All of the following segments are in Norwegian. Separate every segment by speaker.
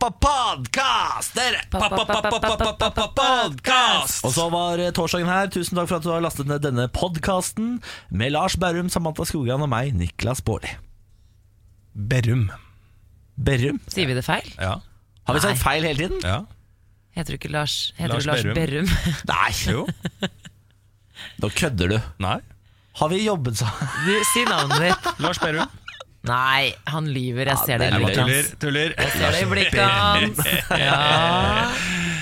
Speaker 1: Podkast! Dere! Podkast!
Speaker 2: Og så var eh, torsdagen her. Tusen takk for at du har lastet ned denne podkasten med Lars Berrum, Samantha Skogran og meg, Niklas Baarli.
Speaker 1: Berrum.
Speaker 2: Berrum?
Speaker 3: Sier vi det feil?
Speaker 1: Ja.
Speaker 2: Har vi
Speaker 3: Nei.
Speaker 2: sagt feil hele tiden?
Speaker 1: ja.
Speaker 3: Heter du ikke Lars, heter
Speaker 1: Lars
Speaker 3: du Lars
Speaker 1: Berrum.
Speaker 3: Berrum?
Speaker 2: Nei,
Speaker 1: Jo.
Speaker 2: nå kødder du.
Speaker 1: Nei.
Speaker 2: Har vi jobbet sammen?
Speaker 3: Du, si navnet ditt.
Speaker 1: Lars Berrum.
Speaker 3: Nei, han lyver. Jeg ser det
Speaker 2: det
Speaker 3: i
Speaker 2: er
Speaker 3: blikket
Speaker 1: Tuller,
Speaker 3: hans.
Speaker 1: tuller.
Speaker 3: Ser det i blikket hans. Ja.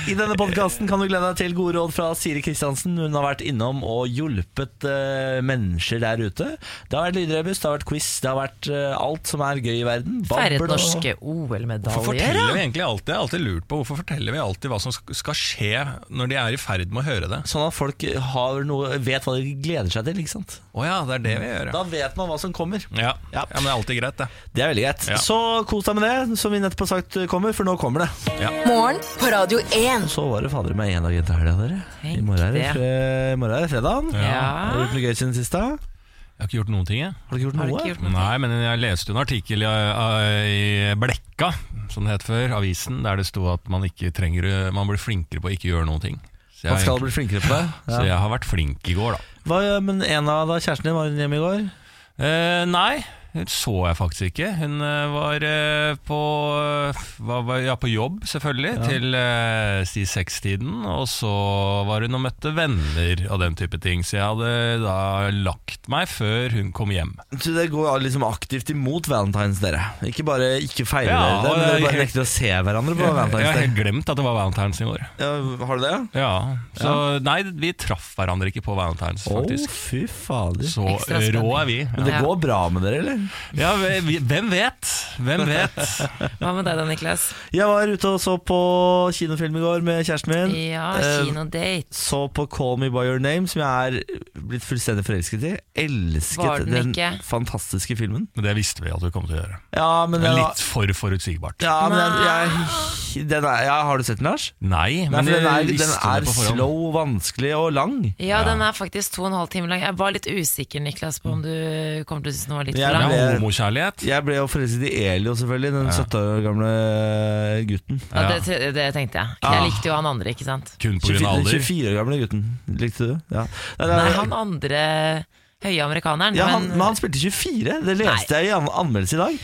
Speaker 2: I denne podkasten kan du glede deg til gode råd fra Siri Kristiansen. Hun har vært innom og hjulpet eh, mennesker der ute. Det har vært lydrebus, det har vært quiz, det har vært eh, alt som er gøy i verden.
Speaker 3: Feiret
Speaker 2: Babbel og-
Speaker 3: norske
Speaker 1: Hvorfor
Speaker 3: OL-medaljer.
Speaker 1: forteller
Speaker 3: ja.
Speaker 1: vi egentlig alltid? Jeg har alltid lurt på Hvorfor forteller vi alltid hva som sk- skal skje når de er i ferd med å høre det?
Speaker 2: Sånn at folk har noe, vet hva de gleder seg til. ikke sant?
Speaker 1: Å ja, det er det vi gjør, ja.
Speaker 2: Da vet man hva som kommer.
Speaker 1: Ja.
Speaker 2: Ja.
Speaker 1: ja, men det er alltid greit, det.
Speaker 2: Det er veldig greit.
Speaker 1: Ja.
Speaker 2: Så kos deg med det, som vi nettopp har sagt kommer, for nå kommer det.
Speaker 4: Morgen på Radio 1.
Speaker 2: Så var det fader meg én dag etter helga, dere. I
Speaker 3: Tenk
Speaker 2: morgen er det,
Speaker 3: det.
Speaker 2: fre- i morgen er det fredag. Har du gjort noe gøy siden sist? da?
Speaker 1: Jeg har ikke gjort noen ting, jeg.
Speaker 2: Har du ikke gjort
Speaker 3: Har du
Speaker 2: noe?
Speaker 3: ikke gjort noe?
Speaker 1: Nei, men jeg leste jo en artikkel i, eh, i Blekka, som det het før, avisen, der det sto at man, ikke trenger, man blir flinkere på å ikke gjøre noen ting. Så
Speaker 2: Man
Speaker 1: jeg,
Speaker 2: skal bli flinkere på det.
Speaker 1: så jeg har vært flink i går, da.
Speaker 2: Hva, men en av da, kjæresten din var hun hjemme i går.
Speaker 1: Eh, nei, hun så jeg faktisk ikke. Hun eh, var, eh, på, var, var ja, på jobb, selvfølgelig, til eh, si sekstiden. Og så var hun og møtte venner og den type ting. Så jeg hadde da lagt meg før hun kom hjem.
Speaker 2: Så Dere går liksom aktivt imot valentines, dere. Ikke bare ikke feire
Speaker 1: Ja,
Speaker 2: dere,
Speaker 1: og
Speaker 2: men
Speaker 1: jeg-
Speaker 2: dere bare nekter å se hverandre på
Speaker 1: jeg har
Speaker 2: valentines.
Speaker 1: helt glemt at det var valentines i år.
Speaker 2: Ja, har du det?
Speaker 1: Ja, så nei, vi traff hverandre ikke på Valentine's,
Speaker 2: Å,
Speaker 1: faktisk.
Speaker 2: fy fader.
Speaker 1: Så
Speaker 3: Ekstra spenning.
Speaker 1: rå er vi.
Speaker 2: Men det
Speaker 3: Ja.
Speaker 2: går bra med dere, eller?
Speaker 1: Ja, vi- vi- hvem vet? Hvem vet?
Speaker 3: Hva med deg da, Niklas?
Speaker 2: Jeg var ute og så på kinofilm i går med kjæresten min.
Speaker 3: Ja,
Speaker 2: Eh,
Speaker 3: kinodate.
Speaker 2: så på Call Me By Your Name, som jeg er blitt fullstendig forelsket i.
Speaker 3: Var
Speaker 2: Elsket
Speaker 3: den
Speaker 2: den,
Speaker 3: ikke?
Speaker 2: fantastiske filmen.
Speaker 1: Men det visste vi at du kom til å gjøre.
Speaker 2: Ja, men,
Speaker 1: Det er
Speaker 2: jeg-
Speaker 1: litt for forutsigbart.
Speaker 2: ja, men jeg, jeg, den er, ja, Har du sett den, Lars? Nei,
Speaker 1: Nei, men
Speaker 2: for den
Speaker 1: jeg
Speaker 2: er, den
Speaker 1: visste
Speaker 2: er
Speaker 1: det på forhånd.
Speaker 2: slow, vanskelig og lang.
Speaker 3: Ja, Mm. den er faktisk to og en halv time lang. Jeg var litt usikker, Niklas, på om du kom til å synes den var litt
Speaker 2: Jeg
Speaker 3: for
Speaker 1: Det
Speaker 3: lang.
Speaker 2: ble-
Speaker 1: er homokjærlighet.
Speaker 2: Jeg ble jo forelsket i Elio, selvfølgelig. Den 17 år gamle gutten.
Speaker 3: Ja, Ah. det, det tenkte jeg. Jeg likte jo han andre, ikke sant?
Speaker 1: Kun på
Speaker 2: 24,
Speaker 1: grunn
Speaker 2: den
Speaker 1: av alder.
Speaker 2: 24 år gamle gutten. Likte du? Ja. Nei, det er-
Speaker 3: Nei, han andre høye amerikaneren.
Speaker 2: ja, han,
Speaker 3: men
Speaker 2: men han spilte 24! Det leste jeg i an anmeldelse i dag.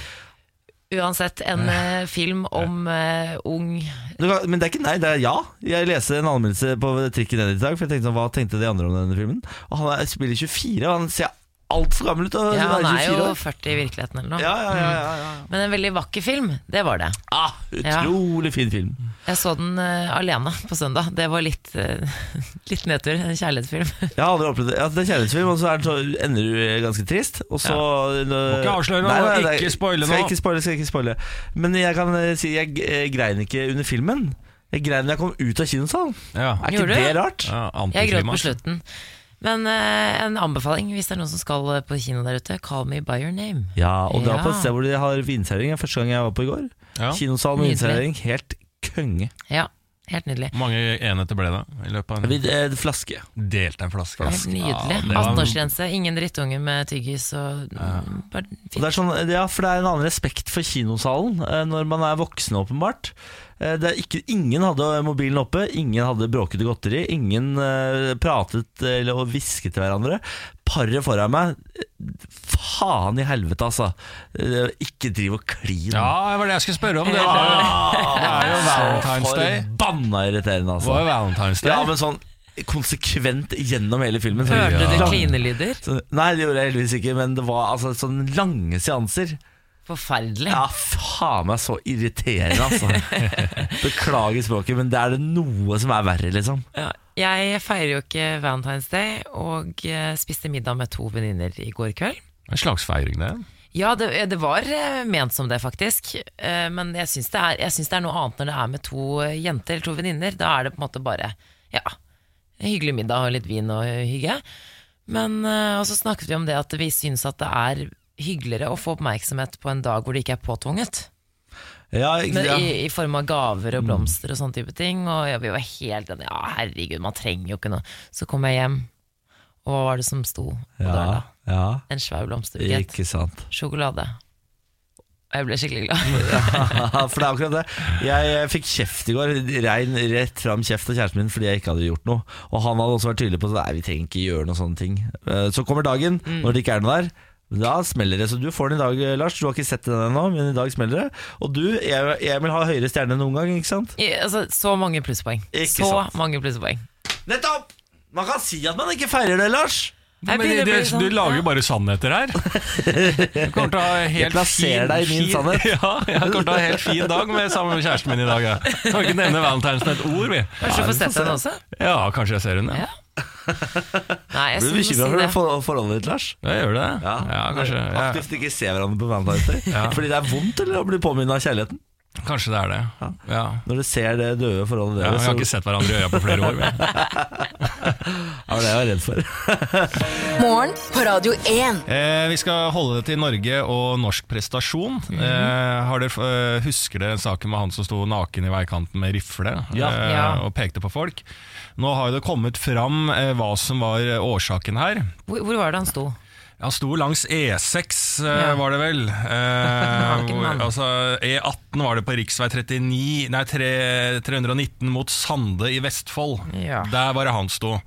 Speaker 3: uansett, en eh, film om eh, ung
Speaker 2: Du kan- Men det er ikke nei, det er ja. Jeg leste en anmeldelse på trikken ned i dag, for jeg tenkte sånn, hva tenkte de andre om denne filmen? Og han er, spiller 24, og han ser altfor gammel ut. Og
Speaker 3: Ja, han er jo
Speaker 2: år.
Speaker 3: 40 i virkeligheten eller noe. Mm.
Speaker 2: Ja, ja, ja, ja, ja.
Speaker 1: Mm.
Speaker 3: Men en veldig vakker film, det var det.
Speaker 2: Ah, utrolig fin film.
Speaker 3: Jeg så den eh, alene på søndag. Det var litt, eh, litt nedtur. En kjærlighetsfilm.
Speaker 2: Jeg har aldri opplevd det. Ja, det er kjærlighetsfilm, og så, er den så ender du eh, ganske trist. Og så eh, Må
Speaker 1: ikke avsløre noe, ikke spoile
Speaker 2: Skal
Speaker 1: nå.
Speaker 2: jeg ikke spoile, skal jeg ikke spoile. Men jeg kan eh, si jeg eh, grein ikke under filmen. Jeg grein da jeg kom ut av kinosalen.
Speaker 1: Ja.
Speaker 2: Er
Speaker 3: Gjorde
Speaker 2: ikke
Speaker 3: du?
Speaker 2: det rart?
Speaker 1: Ja,
Speaker 3: Jeg gråt på
Speaker 1: antiklimaks.
Speaker 3: slutten. Men eh, en anbefaling hvis det er noen som skal eh, på kino der ute, call me by your name.
Speaker 2: Ja, og dra på et
Speaker 3: Ja.
Speaker 2: sted hvor de har vinservering. er Første gang jeg var på i går.
Speaker 1: Ja.
Speaker 2: Kinosalen med
Speaker 3: Nydelig.
Speaker 2: vinservering, helt konge.
Speaker 3: Ja, helt nydelig.
Speaker 1: Hvor mange enheter ble det i løpet av en
Speaker 2: Vi eh, flaske.
Speaker 1: Delte en flaske.
Speaker 3: Helt nydelig.
Speaker 1: Ja, det var-
Speaker 3: 18-årsgrense, ingen drittunger med tyggis og mm, bare
Speaker 2: Og
Speaker 3: fint.
Speaker 2: det er sånn, ja, for det er en annen respekt for kinosalen eh, når man er voksen, åpenbart. Eh, Det er ikke, ingen hadde mobilen oppe, ingen hadde bråkete godteri, ingen eh, pratet eh, eller hvisket til hverandre. Paret foran meg eh, Faen i helvete, altså. Eh, Ikke driv og klin.
Speaker 1: Ja, det var det jeg skulle spørre om. Det, var, det
Speaker 2: Ah,
Speaker 1: er jo Valentine's Day.
Speaker 2: Forbanna irriterende,
Speaker 1: Det
Speaker 2: altså.
Speaker 1: var jo Valentine's Day.
Speaker 2: Ja, men sånn konsekvent gjennom hele filmen. Sånn,
Speaker 3: Hørte du
Speaker 2: lang-
Speaker 3: klinelyder?
Speaker 2: Så- Nei, det gjorde jeg heldigvis ikke, men det var altså sånn lange seanser.
Speaker 3: Forferdelig.
Speaker 2: Ja, faen meg så irriterende, altså. Beklager språket, men det er det noe som er verre, liksom.
Speaker 3: Ja. Jeg feirer jo ikke Valentine's Day, og eh, spiste middag med to venninner i går kveld.
Speaker 1: En slags feiring, det.
Speaker 3: Ja, det, det var eh, ment som det, faktisk. Eh, Men jeg syns det, er- jeg syns det er noe annet når det er med to eh, jenter eller to venninner. Da er det på en måte bare ja, en hyggelig middag og litt vin og eh, hygge. Men eh, Og så snakket vi om det at vi syns at det er hyggeligere å få oppmerksomhet på en dag hvor det ikke er påtvunget.
Speaker 2: Ja, ikke, Mm.
Speaker 3: Men
Speaker 2: ja.
Speaker 3: i, I form av gaver og blomster og sånne type ting. Og ja, vi var helt enige. Ja, herregud, man trenger jo ikke noe. Så kom jeg hjem, og hva var det som sto på
Speaker 2: ja,
Speaker 3: døra?
Speaker 2: ja.
Speaker 3: En svær blomsterbukett.
Speaker 2: Ikke sant.
Speaker 3: Sjokolade. Jeg ble skikkelig glad.
Speaker 2: For det er akkurat det. Jeg eh, fikk kjeft i går. Rein rett fram kjeft av kjæresten min fordi jeg ikke hadde gjort noe. Og han hadde også vært tydelig på at nei, vi trenger ikke gjøre noen sånne ting. Eh, Så kommer dagen
Speaker 3: Mm.
Speaker 2: når det ikke er noe der. Da smeller det. Så du får den i dag, eh, Lars. Du har ikke sett den ennå, men i dag smeller det. Og du, jeg, jeg vil ha høyere stjerne enn noen gang, ikke sant?
Speaker 3: I, altså, så mange plusspoeng.
Speaker 2: Ikke
Speaker 3: så
Speaker 2: sant.
Speaker 3: mange plusspoeng.
Speaker 2: Nettopp! Man kan si at man ikke feirer det, Lars.
Speaker 3: Jeg
Speaker 1: Men
Speaker 3: begynner å
Speaker 1: du,
Speaker 3: bli sånn,
Speaker 1: du lager
Speaker 3: ja.
Speaker 1: jo bare sannheter her. Du kommer til å ha helt
Speaker 2: Jeg plasserer
Speaker 1: fin-
Speaker 2: deg i min
Speaker 1: fin-
Speaker 2: sannhet.
Speaker 1: Ja, jeg kommer til å ha en helt fin dag med sammen med kjæresten min i dag. Jeg. Kan vi ikke nevne Valentine's med et ord, vi.
Speaker 3: Kanskje du
Speaker 2: vi
Speaker 3: får
Speaker 2: får
Speaker 3: sett den
Speaker 2: se.
Speaker 3: også?
Speaker 1: Ja, kanskje jeg ser henne.
Speaker 3: Ja. Nei, jeg
Speaker 2: Blir du
Speaker 3: synes du
Speaker 2: bekymra
Speaker 3: må
Speaker 2: for
Speaker 3: si det.
Speaker 2: for- forholdet ditt, Lars?
Speaker 1: Ja, gjør du det? Ja, kanskje. Ja,
Speaker 2: Aktivt ikke se hverandre på Valentine's Day. Fordi det er vondt eller, å bli påminnet av kjærligheten.
Speaker 1: kanskje det er det. Ja.
Speaker 2: Når du ser det døde forholdet
Speaker 1: Ja,
Speaker 2: deres.
Speaker 1: vi
Speaker 2: så-
Speaker 1: har ikke sett hverandre i øya på flere år. vi.
Speaker 2: Ja, det er jeg redd for.
Speaker 4: Morgen på Radio 1.
Speaker 1: Eh, vi skal holde det til Norge og norsk prestasjon. eh, har dere, eh, husker dere saken med han som sto naken i veikanten med rifle
Speaker 2: Ja.
Speaker 1: eh,
Speaker 3: Ja.
Speaker 1: og pekte på folk? Nå har jo det kommet fram eh, hva som var eh, årsaken her.
Speaker 3: Hvor, hvor var det han sto?
Speaker 1: Han sto langs E6, eh,
Speaker 3: Ja.
Speaker 1: var det vel. Eh,
Speaker 3: Naken
Speaker 1: hvor,
Speaker 3: mann.
Speaker 1: altså, E18 var det på rv. 39, nei, tre- 319 mot Sande i Vestfold.
Speaker 3: Ja.
Speaker 1: Der var det han sto.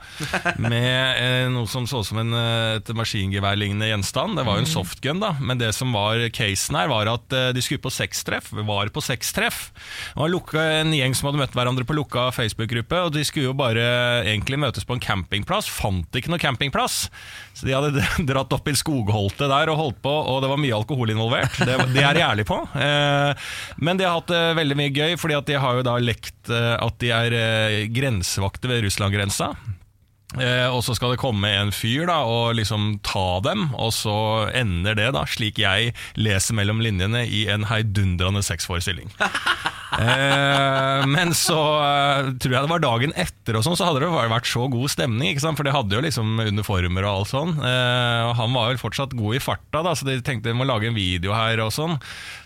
Speaker 1: Med eh, noe som så ut som en, eh, et maskingeværlignende gjenstand. Det var jo
Speaker 3: Mm.
Speaker 1: en softgun, da. Men det som var casen her, var at eh, de skulle på sekstreff. Var på sekstreff. Det var lukka, en gjeng som hadde møtt hverandre på lukka Facebook-gruppe, og de skulle jo bare egentlig møtes på en campingplass. Fant ikke noe campingplass. Så de hadde dratt opp i skogholtet der og holdt på, og det var mye alkohol involvert. Det, det er jeg ærlig på. Eh, men de har hatt det veldig mye gøy, fordi at de har jo da lekt eh, at de er eh, grensevakter ved Russland-grensa. Eh, og så skal det komme en fyr da og liksom ta dem, og så ender det, da slik jeg leser mellom linjene, i en heidundrende sexforestilling. Eh, men så eh, tror jeg det var dagen etter, og sånn så hadde det bare vært så god stemning. Ikke sant? For de hadde jo liksom uniformer og alt sånn. Eh, og han var vel fortsatt god i farta, da, så de tenkte vi må lage en video her. og sånn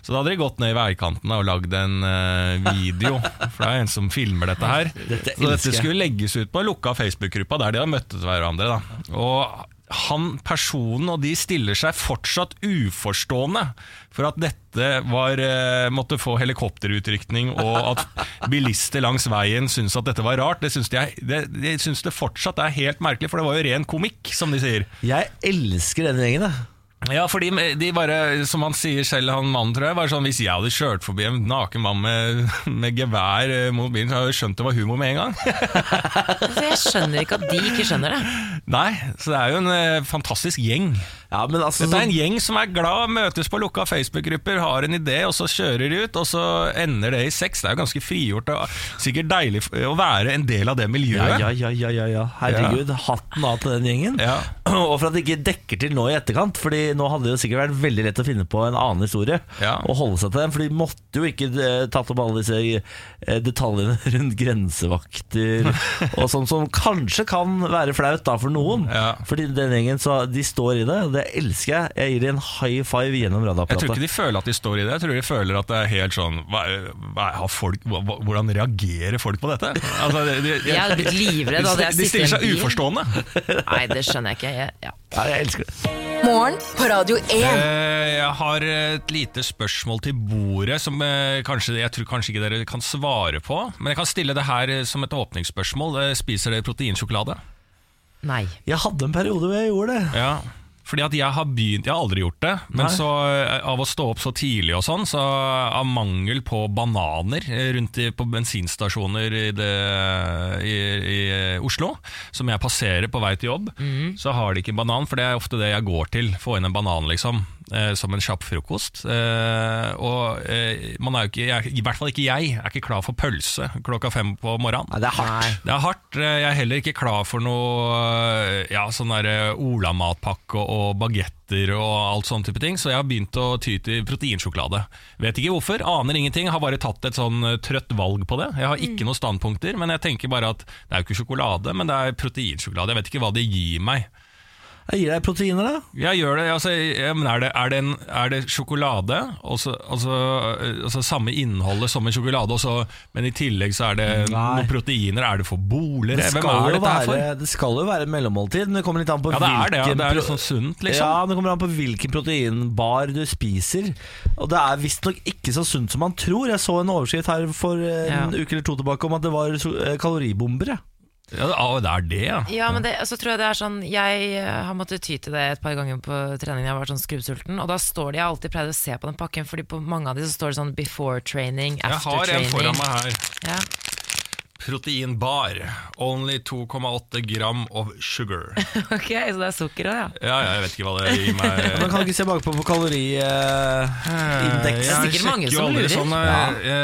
Speaker 1: Så da hadde de gått ned i veikanten da, og lagd en eh, video, for det er en som filmer dette her.
Speaker 2: Dette
Speaker 1: så
Speaker 2: elsker
Speaker 1: dette
Speaker 2: jeg.
Speaker 1: skulle legges ut på lukka Facebook-gruppa der de har møttes hverandre. da Og han, personen og de stiller seg fortsatt uforstående for at dette var, eh, måtte få helikopterutrykning, og at bilister langs veien syns at dette var rart. Det syns de, er- det, de syns det fortsatt er helt merkelig, for det var jo ren komikk, som de sier.
Speaker 2: Jeg elsker denne gjengen, jeg.
Speaker 1: Ja, fordi de bare, som han sier selv, han mannen tror jeg, bare sånn, hvis jeg hadde kjørt forbi en naken mann med, med gevær eh, mot bilen, så hadde jeg skjønt det var humor med en gang.
Speaker 3: Altså, jeg skjønner ikke at de ikke skjønner det.
Speaker 1: Nei, så det er jo en eh, fantastisk gjeng.
Speaker 2: Ja, men altså,
Speaker 1: Dette er
Speaker 2: sånn-
Speaker 1: en gjeng som er glad, møtes på lukka Facebook-grupper, har en idé, og så kjører de ut, og så ender det i sex. Det er jo ganske frigjort, og sikkert deilig f- å være en del av det
Speaker 2: ja,
Speaker 1: miljøet.
Speaker 2: ja, ja, ja, ja, ja. Herregud, hatten av til den gjengen.
Speaker 1: Ja.
Speaker 2: Og for at det ikke dekker til nå i etterkant, Fordi nå hadde det jo sikkert vært veldig lett å finne på en annen historie.
Speaker 1: Ja.
Speaker 2: Og holde seg til den, for de måtte jo ikke eh, tatt opp alle disse eh, detaljene rundt grensevakter og sånn som kanskje kan være flaut da for noen.
Speaker 1: Ja.
Speaker 2: Fordi den gjengen, så de står i det, og det elsker jeg. Jeg gir dem en high five gjennom
Speaker 1: Jeg tror
Speaker 2: radioapparatet.
Speaker 1: ikke de føler at de står i det. Jeg tror de føler at det er helt sånn hva, hva, har folk, hva, hva- Hvordan reagerer folk på dette? Altså, de, de,
Speaker 3: Jeg hadde blitt livredd. Hadde jeg sittet
Speaker 1: de
Speaker 3: i
Speaker 1: stiller
Speaker 3: en
Speaker 1: seg
Speaker 3: bil.
Speaker 1: uforstående.
Speaker 3: Nei, det skjønner jeg ikke. Jeg, ja.
Speaker 2: Ja, jeg elsker det.
Speaker 4: Morgen på Radio 1.
Speaker 1: Eh, Jeg har et lite spørsmål til bordet som eh, kanskje, jeg tror kanskje ikke dere kan svare på. Men jeg kan stille det her eh, som et åpningsspørsmål. Eh, Spiser dere proteinsjokolade?
Speaker 3: Nei.
Speaker 2: Jeg hadde en periode hvor jeg gjorde det.
Speaker 1: Ja, fordi at jeg har begynt Jeg har aldri gjort det, men så eh, av å stå opp så tidlig og sånn, så av mangel på bananer eh, rundt i, på bensinstasjoner i, det, i, i Oslo, som jeg passerer på vei til jobb, så har de ikke banan, for det er ofte det jeg går til. Få inn en banan, liksom. eh, Som en kjapp frokost. Eh, og eh, man er jo ikke, jeg, i hvert fall ikke jeg, er ikke klar for pølse klokka fem på morgenen.
Speaker 2: Nei, det er hardt.
Speaker 1: Det er hardt. Jeg er heller ikke klar for noe ja, sånn der olamatpakke og bagetter og alt sånne type ting, så jeg har begynt å ty til proteinsjokolade. Vet ikke hvorfor, aner ingenting. Har bare tatt et sånn eh, trøtt valg på det. Jeg har ikke noen standpunkter, men jeg tenker bare at det er jo ikke sjokolade, men det er proteinsjokolade. Jeg vet ikke hva det gir meg.
Speaker 2: Jeg gir deg proteiner, da.
Speaker 1: Jeg gjør det. Altså, ja, men er det, er det, en, er det sjokolade? Og så- altså, eh, altså samme innholdet som en sjokolade, og så- men i tillegg så er det
Speaker 2: Nei.
Speaker 1: noen proteiner. Er det for boler?
Speaker 2: Det
Speaker 1: Hvem
Speaker 2: skal,
Speaker 1: er
Speaker 2: jo
Speaker 1: dette her
Speaker 2: være,
Speaker 1: for?
Speaker 2: det skal jo være et mellommåltid, men det kommer litt an på
Speaker 1: Ja, det er det. Ja.
Speaker 2: hvilken
Speaker 1: Det er
Speaker 2: pro-
Speaker 1: jo sånn sunt, liksom.
Speaker 2: Ja, men det kommer an på hvilken proteinbar du spiser. Og det er visstnok ikke så sunt som man tror. Jeg så en overskrift her for eh, en
Speaker 3: Ja.
Speaker 2: uke eller to tilbake om at det var so- eh, kaloribomber. Ja.
Speaker 1: Ja, det- ah, det er det, ja.
Speaker 3: Ja, men det, så tror jeg det er sånn Jeg eh, har måttet ty til det et par ganger på trening. Jeg har vært sånn skrubbsulten, og da står det Jeg har alltid pleid å se på den pakken, Fordi på mange av de så står det sånn before training,
Speaker 1: Jeg
Speaker 3: after
Speaker 1: har en
Speaker 3: training.
Speaker 1: foran meg her.
Speaker 3: Ja.
Speaker 1: Proteinbar. Only 2,8 gram of sugar.
Speaker 3: Ok, så det er sukker òg, ja.
Speaker 1: Ja, ja, jeg vet ikke hva det gir meg.
Speaker 2: Man kan ikke se bakpå på eh, kaloriindeks.
Speaker 1: Jeg
Speaker 3: Det er sikkert mange
Speaker 1: sjekker jo
Speaker 3: som
Speaker 1: aldri
Speaker 3: lurer.
Speaker 1: Sånn,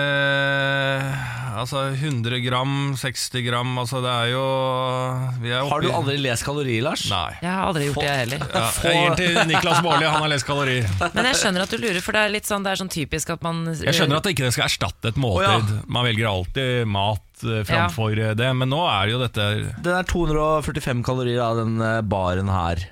Speaker 1: eh, altså 100 gram, 60 gram, altså det er jo vi er oppe
Speaker 2: har du
Speaker 1: i-
Speaker 2: aldri lest kalori, Lars?
Speaker 1: Nei.
Speaker 3: Jeg har aldri gjort det, jeg heller.
Speaker 1: Ja, jeg gir den til Niklas Baarli, han har lest kalori.
Speaker 3: Men jeg skjønner at du lurer, for det er litt sånn, det er sånn typisk at man eh,
Speaker 1: Jeg skjønner at det ikke skal erstatte et måltid.
Speaker 2: Å, ja.
Speaker 1: Man velger alltid mat eh, framfor eh, det, men nå er jo dette
Speaker 2: Den er 245 kalorier av den eh, baren her.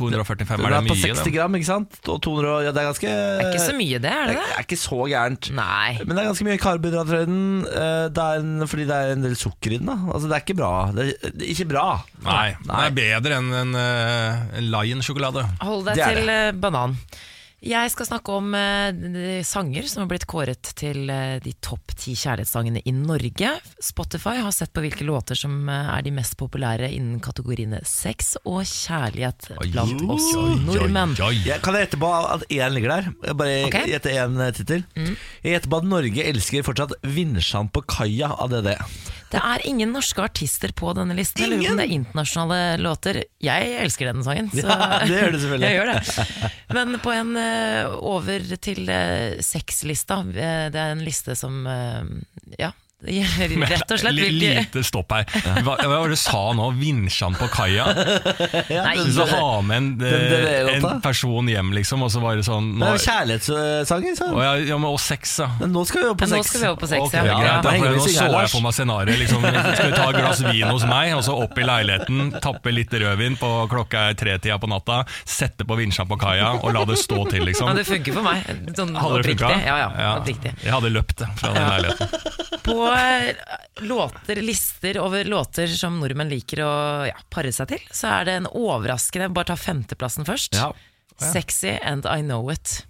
Speaker 1: 245,
Speaker 2: Den
Speaker 1: er det
Speaker 2: er på
Speaker 1: mye?
Speaker 2: 60
Speaker 1: Det?
Speaker 2: gram, ikke sant? Og 200, ja, det er ganske
Speaker 3: Det er ikke så mye, det, er det
Speaker 2: det
Speaker 3: det?
Speaker 2: er ikke så gærent.
Speaker 3: Nei.
Speaker 2: Men det er ganske mye karbohydrater i den, eh, det er en, fordi det er en del sukker i den. Da. Altså, det er ikke bra. Det er, det er ikke bra.
Speaker 1: Nei, det er bedre enn en, eh, en Lion-sjokolade.
Speaker 3: Hold deg
Speaker 2: Det er
Speaker 3: til eh, banan. Jeg skal snakke om eh, de sanger som har blitt kåret til eh, de topp ti kjærlighetssangene i Norge. Spotify har sett på hvilke låter som eh, er de mest populære innen kategoriene sex og kjærlighet blant oss nordmenn.
Speaker 1: Oi, oi, oi.
Speaker 2: Jeg, kan jeg gjette på at én ligger der? Jeg Bare
Speaker 3: Ok. Mm.
Speaker 2: gjette én eh, tittel. Jeg gjetter på at Norge elsker fortsatt Vinsjan på kaia av DD.
Speaker 3: Det er ingen norske artister på denne listen. Jeg lurer på om det er internasjonale låter. Jeg elsker denne sangen. Så
Speaker 2: Ja, det gjør du selvfølgelig.
Speaker 3: Jeg gjør det. Men på en eh, over til eh, sexlista. Eh, det er en liste som eh, Ja, det gjelder rett og slett
Speaker 1: Li-
Speaker 3: hvilke
Speaker 1: Lite stopp her. Hva, hva var det du sa nå? Vinsjan på kaia?
Speaker 3: Nei,
Speaker 1: Du skal
Speaker 3: det-
Speaker 1: ha med en,
Speaker 2: Den
Speaker 1: eh,
Speaker 2: DDE-låta?
Speaker 1: en person hjem, liksom, og så bare sånn
Speaker 2: Det
Speaker 1: nå,
Speaker 2: er jo kjærlighetssanger, sa
Speaker 1: Å,
Speaker 2: hun.
Speaker 1: ja, ja, men, Og sex, ja.
Speaker 2: Men nå skal vi over på
Speaker 3: Men nå
Speaker 2: sex.
Speaker 3: skal vi over på sex,
Speaker 1: Ok,
Speaker 3: ja.
Speaker 2: ja, da
Speaker 1: greit, da,
Speaker 2: henger
Speaker 1: for
Speaker 2: vi
Speaker 1: Nå så
Speaker 2: signal,
Speaker 1: jeg
Speaker 2: Lars.
Speaker 1: for meg scenarioet. Liksom, skal vi ta et glass vin hos meg, og så opp i leiligheten, tappe litt rødvin på klokka er tretida på natta, sette på vinsja på kaia og la det stå til,
Speaker 3: Men
Speaker 1: liksom.
Speaker 3: det funker for meg. Sånn
Speaker 1: Hadde det
Speaker 3: oppriktig.
Speaker 1: funka?
Speaker 3: Ja, ja, oppriktig.
Speaker 1: Jeg hadde løpt fra den leiligheten.
Speaker 3: På eh, låter, lister over låter som nordmenn liker å ja, pare seg til, så er det en overraskende Bare ta femteplassen først.
Speaker 2: Ja.
Speaker 3: Sexy and I know it.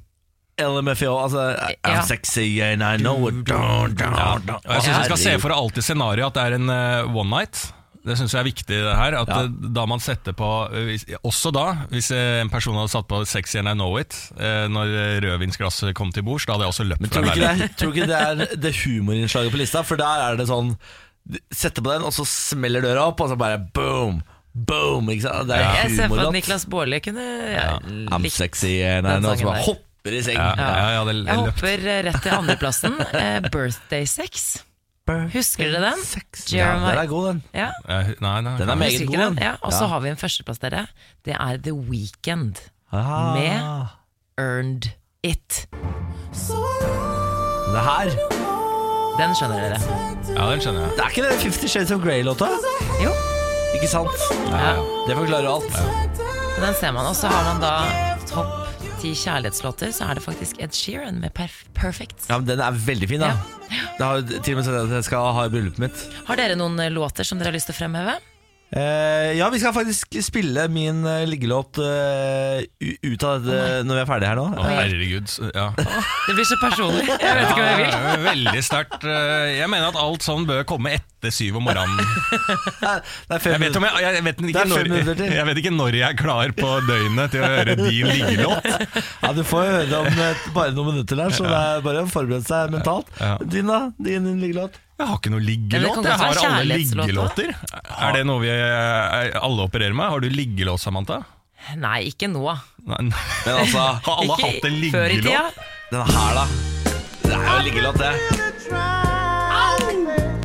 Speaker 2: LMFAO, altså
Speaker 3: Ja.
Speaker 2: I'm sexy and I know it.
Speaker 1: Og jeg syns vi skal se for deg alltid scenarioet at det er en eh, one night. Det syns jeg er viktig det her. At
Speaker 2: Ja.
Speaker 1: eh, da man setter på eh, hvis, Også da, hvis eh, en person hadde satt på 'Sexy and I Know It' eh, når eh, rødvinsglasset kom til bords, da hadde jeg også løpt
Speaker 2: Men
Speaker 1: fra
Speaker 2: tror du ikke
Speaker 1: leiligheten.
Speaker 2: det, er- tror du ikke det er det humorinnslaget på lista? For der er det sånn Sette på den, og så smeller døra opp, og så bare boom! Boom! Ikke sant? Det er
Speaker 3: Jeg ser for at
Speaker 2: humorlåt.
Speaker 3: Niklas Baarli kunne ja,
Speaker 2: I'm
Speaker 3: likt
Speaker 2: sexy eh, and I
Speaker 3: den
Speaker 2: know it. Så
Speaker 3: sangen
Speaker 2: bare
Speaker 3: der.
Speaker 2: hopper i seng.
Speaker 1: Ja, ja, jeg hadde
Speaker 3: Jeg
Speaker 1: løpt.
Speaker 3: hopper eh, rett til andreplassen. Eh, birthday sex. Husker dere den?
Speaker 2: Sex. Ja,
Speaker 3: Jeremiah-
Speaker 2: den er god, den.
Speaker 3: Ja,
Speaker 1: Eh, Nei, nei,
Speaker 2: Den er
Speaker 1: nei.
Speaker 2: meget
Speaker 3: husker
Speaker 2: god,
Speaker 3: ikke den?
Speaker 2: den.
Speaker 3: Ja, og så
Speaker 2: Ja.
Speaker 3: har vi en førsteplass, dere. Det er The Weekend.
Speaker 2: Ah.
Speaker 3: Med- Earned It.
Speaker 2: Det her.
Speaker 3: Den skjønner dere.
Speaker 1: Ja, den skjønner jeg.
Speaker 2: Det er ikke det Fifty Shades of Grey-låta?
Speaker 3: Jo.
Speaker 2: Ikke sant?
Speaker 3: Ja.
Speaker 2: Det forklarer alt.
Speaker 3: Men Den ser man, og så har man da topp ti kjærlighetslåter, så er det faktisk Ed Sheeran med perf Perfect.
Speaker 2: Ja, men Den er veldig fin, da.
Speaker 3: Ja.
Speaker 2: Det har jo til og med sagt at jeg skal ha i bryllupet mitt.
Speaker 3: Har dere noen eh, låter som dere har lyst til å fremheve?
Speaker 2: Eh, ja, vi skal faktisk spille min eh, liggelåt eh, u- ut av dette når vi er ferdige her nå.
Speaker 1: Å, herregud. så- Ja.
Speaker 3: Det blir så personlig. Jeg vet ikke hva jeg vil.
Speaker 1: Ja, veldig sterkt. eh, Jeg mener at alt sånn bør komme etter syv om morgenen.
Speaker 2: Det er fem
Speaker 1: Jeg vet, om jeg, jeg, vet
Speaker 2: Det
Speaker 1: ikke
Speaker 2: er fem minutter
Speaker 1: når,
Speaker 2: til.
Speaker 1: jeg vet ikke når jeg er klar på døgnet til å høre din liggelåt.
Speaker 2: minutter. Ja, du får jo høre det om eh, bare noen minutter, der, så det er bare å forberede seg mentalt.
Speaker 1: Ja.
Speaker 2: Din, da? Din liggelåt?
Speaker 1: Jeg har ikke noe
Speaker 3: Men det
Speaker 1: liggelåt.
Speaker 3: kan godt
Speaker 1: Jeg
Speaker 3: være
Speaker 1: har alle
Speaker 3: kjærlighetslåt
Speaker 1: liggelåter. Er det noe vi eh, alle opererer med? Har du liggelåt, Samantha?
Speaker 3: Nei, ikke nå.
Speaker 1: Nei, nei.
Speaker 2: Men altså,
Speaker 1: Har alle
Speaker 3: ikke
Speaker 1: hatt en
Speaker 3: før i tida.
Speaker 1: liggelåt?
Speaker 2: denne her, da. Det er jo en liggelåt, det.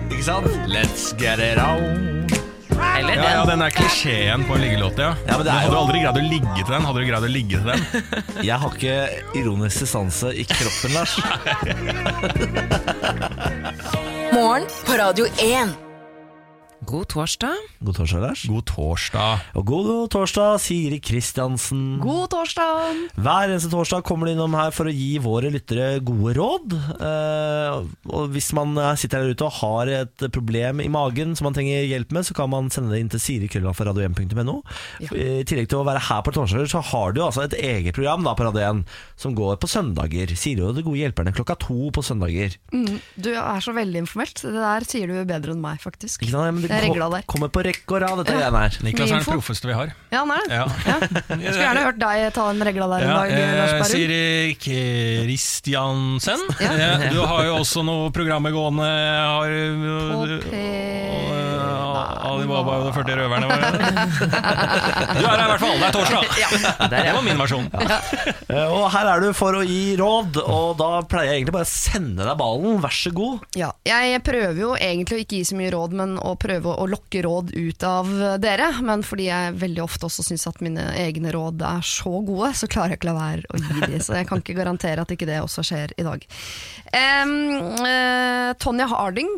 Speaker 2: Ikke sant? Let's get it on.
Speaker 3: Eller
Speaker 1: Ja, ja,
Speaker 3: den.
Speaker 1: den er klisjeen på en liggelåt, ja.
Speaker 2: Ja, men det
Speaker 1: Men
Speaker 2: er
Speaker 1: hadde
Speaker 2: jo-
Speaker 1: du aldri greid å ligge til den? Hadde du greid å ligge til den?
Speaker 2: Jeg har ikke ironisk distanse i kroppen, Lars.
Speaker 4: Morgen på Radio 1.
Speaker 3: God torsdag.
Speaker 2: God torsdag, Lars.
Speaker 1: God torsdag.
Speaker 2: Og god torsdag, Siri Kristiansen.
Speaker 5: God torsdag!
Speaker 2: Hver eneste torsdag kommer du innom her for å gi våre lyttere gode råd. Eh, og hvis man eh, sitter der ute og har et problem i magen som man trenger hjelp med, så kan man sende det inn til sirikrøllalfaradio1.no. I tillegg til å være her på torsdager, så har du altså et eget program da på Radio 1 som går på søndager. Siri og de gode hjelperne klokka to på søndager.
Speaker 5: Mm, du er så veldig informelt. Det der sier du bedre enn meg, faktisk.
Speaker 2: Ikke sant? Men
Speaker 5: Det er regla der.
Speaker 2: ko- Kommer på rekke og rad, dette greiene her.
Speaker 1: Niklas
Speaker 5: Mye
Speaker 1: er den
Speaker 5: info.
Speaker 1: proffeste vi har.
Speaker 5: Ja, han er det.
Speaker 1: Ja.
Speaker 5: Ja. Jeg skulle gjerne hørt deg ta den regla der en
Speaker 1: Ja,
Speaker 5: dag, Lars
Speaker 1: eh,
Speaker 5: Berrum.
Speaker 1: Siri Kristiansen.
Speaker 5: Ja.
Speaker 1: Eh, Du har jo også noe programmet gående har,
Speaker 5: På
Speaker 1: du-
Speaker 5: P...
Speaker 1: Eh, Ali Baba og de 40 røverne. var det? Du er her i hvert fall. Det er torsdag. Det var min versjon.
Speaker 2: Eh, Og her er du for å gi råd, og da pleier jeg egentlig bare å sende deg ballen. Vær så god.
Speaker 5: Ja, jeg prøver jo egentlig å ikke gi så mye råd, men å prøve å lokke råd ut av dere. Men fordi jeg veldig ofte også syns at mine egne råd er så gode, så klarer jeg ikke la være å gi de. Så jeg kan ikke garantere at ikke det også skjer i dag. Em, eh, Tonja Harding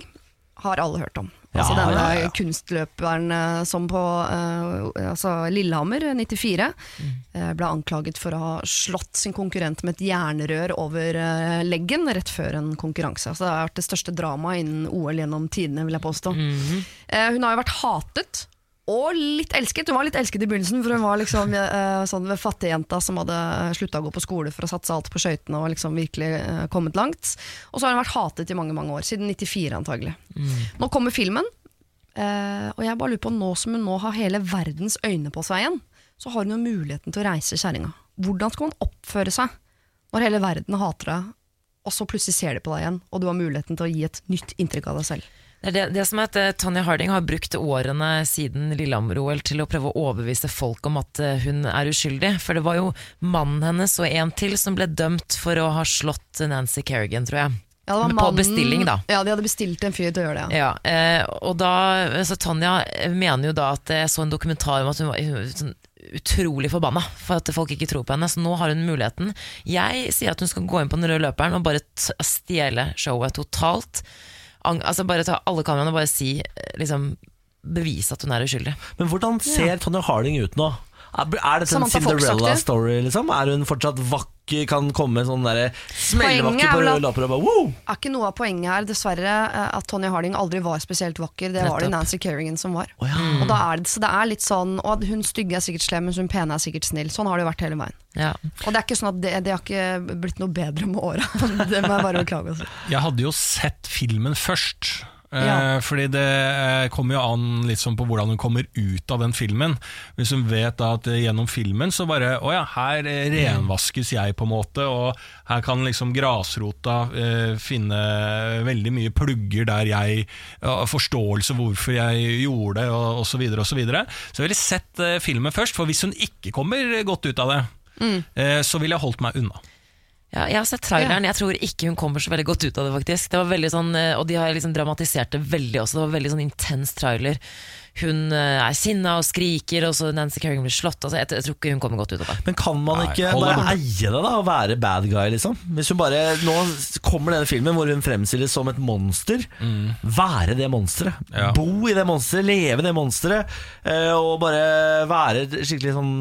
Speaker 5: har alle hørt om. Altså
Speaker 2: Ja,
Speaker 5: denne
Speaker 2: ja, ja.
Speaker 5: kunstløperen eh, som på eh, altså Lillehammer, eh, 94, eh, ble anklaget for å ha slått sin konkurrent med et jernrør over eh, leggen rett før en konkurranse. Altså det har vært det største dramaet innen OL gjennom tidene, vil jeg påstå. Eh, Hun har jo vært hatet. Og litt elsket. Hun var litt elsket i begynnelsen, for hun var liksom eh, sånn fattigjenta som hadde slutta å gå på skole for å satse alt på skøytene og liksom virkelig eh, kommet langt. Og så har hun vært hatet i mange mange år, siden 94 antagelig. Nå kommer filmen, eh, og jeg bare lurer på nå som hun nå har hele verdens øyne på seg igjen, så har hun jo muligheten til å reise kjerringa. Hvordan skal hun oppføre seg når hele verden hater deg, og så plutselig ser de på deg igjen, og du har muligheten til å gi et nytt inntrykk av deg selv?
Speaker 3: Det, er det, det som er at eh, Tonje Harding har brukt årene siden Lillehammer-OL til å prøve å overbevise folk om at eh, hun er uskyldig. For det var jo mannen hennes og en til som ble dømt for å ha slått Nancy Kerrigan, tror jeg.
Speaker 5: Ja, det var
Speaker 3: Men på bestilling, da.
Speaker 5: Ja, de hadde bestilt en fyr til å gjøre det.
Speaker 3: Ja,
Speaker 5: Ja.
Speaker 3: eh, og da, så Tanja mener jo da at jeg så en dokumentar om at hun var hun, var sånn utrolig forbanna for at folk ikke tror på henne, så nå har hun muligheten. Jeg sier at hun skal gå inn på den røde løperen og bare t stjele showet totalt. Ang altså bare ta alle kameraene og bare si, eh, liksom, bevise at hun er uskyldig.
Speaker 2: Men hvordan ser Tonje Harding ut nå? Er, er dette en
Speaker 5: Samantha Fox-aktig.
Speaker 2: Cinderella-story, liksom? Er hun fortsatt vakker, kan komme sånn derre
Speaker 5: Poenget
Speaker 2: smellvakker
Speaker 5: er
Speaker 2: på
Speaker 5: vel
Speaker 2: røde
Speaker 5: at-
Speaker 2: lapper og bare wow!
Speaker 5: Er ikke noe av poenget her, dessverre, eh, at Tonje Harding aldri var spesielt vakker. Det var det
Speaker 3: Nettopp.
Speaker 5: Nancy Kerrigan som var.
Speaker 2: Å ja.
Speaker 5: Og da er det, så det er litt sånn Og hun stygge er sikkert slem, mens hun pene er sikkert snill. Sånn har det jo vært hele veien.
Speaker 3: Ja.
Speaker 5: Og det er ikke sånn at det, det har ikke blitt noe bedre med åra. Det må jeg bare beklage. Altså.
Speaker 1: Jeg hadde jo sett filmen først. eh,
Speaker 5: Ja.
Speaker 1: Fordi det eh, kommer jo an litt sånn på hvordan hun kommer ut av den filmen. Hvis hun vet da at eh, gjennom filmen så bare Å ja, her eh, renvaskes jeg, på en måte. Og her kan liksom grasrota eh, finne veldig mye plugger der jeg ja, Forståelse hvorfor jeg gjorde det, og osv. Så, videre, og så, videre. så jeg ville sett eh, filmen først, for hvis hun ikke kommer godt ut av det, eh, så ville jeg holdt meg unna.
Speaker 3: Ja, jeg har sett traileren. Jeg tror ikke hun kommer så veldig godt ut av det, faktisk. Det var veldig sånn, eh, Og de har liksom dramatisert det veldig også. Det var veldig sånn intens trailer. Hun eh, er sinna og skriker, og så Nancy Kerrigan blir slått. Altså, jeg, jeg tror ikke hun kommer godt ut av det.
Speaker 2: Men kan man
Speaker 1: Nei,
Speaker 2: ikke
Speaker 1: hold
Speaker 2: bare
Speaker 1: deg
Speaker 2: eie det da og være bad guy, liksom? Hvis hun bare, Nå kommer denne filmen hvor hun fremstilles som et monster. Være det monsteret.
Speaker 1: Mm. Ja.
Speaker 2: Bo i det monsteret, leve det monsteret. eh, Og bare være skikkelig sånn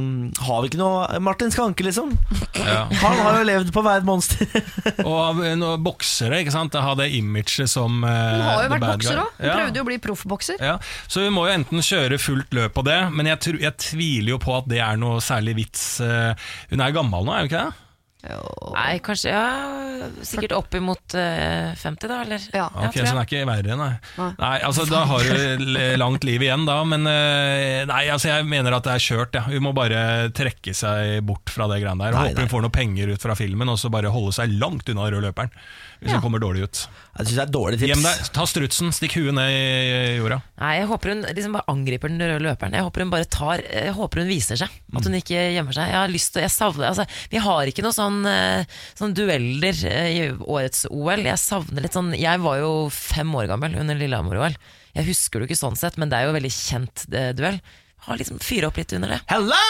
Speaker 2: Har vi ikke noe Martin Skanke, liksom?
Speaker 1: Ja.
Speaker 2: Han har jo levd på å være et monster.
Speaker 1: Og av- nå- boksere, ikke sant? Ha det imaget som eh,
Speaker 5: Hun har jo
Speaker 1: the
Speaker 5: vært
Speaker 1: bad
Speaker 5: bokser
Speaker 1: guy.
Speaker 5: òg. Hun prøvde jo å bli proffbokser.
Speaker 1: Ja, så vi må jo enten kjøre fullt løp på det, men jeg, tr jeg tviler jo på at det er noe særlig vits. eh, Hun er gammel nå, er hun ikke det?
Speaker 3: Nei, kanskje ja, Sikkert oppimot uh, 50, da, eller?
Speaker 5: Ja.
Speaker 3: tror
Speaker 1: Ok, Så hun
Speaker 3: jeg.
Speaker 1: er ikke verre, nei.
Speaker 5: Nei.
Speaker 1: Nei, altså Da har du l- langt liv igjen, da. Men eh, nei, altså jeg mener at det er kjørt. Ja. Hun må bare trekke seg bort fra det greiene der.
Speaker 2: Nei,
Speaker 1: Håper
Speaker 2: nei.
Speaker 1: hun får noe penger ut fra filmen, og så bare holde seg langt unna den røde løperen. Hvis hun kommer dårlig ut.
Speaker 2: Jeg syns det er et dårlig
Speaker 1: Gjem
Speaker 2: tips.
Speaker 1: deg, ta strutsen, stikk huet ned i jorda.
Speaker 3: Nei, jeg håper hun liksom bare angriper den røde løperen. Jeg håper hun bare tar Jeg håper hun viser seg. At hun ikke gjemmer seg. Jeg har lyst til Jeg savner Altså, vi har ikke noe sånn eh, Sånn dueller eh, i årets OL. Jeg savner litt sånn Jeg var jo fem år gammel under Lillehammer-OL. Jeg husker det jo ikke sånn sett, men det er jo veldig kjent eh, duell. Har liksom fyre opp litt under det.
Speaker 2: Hello,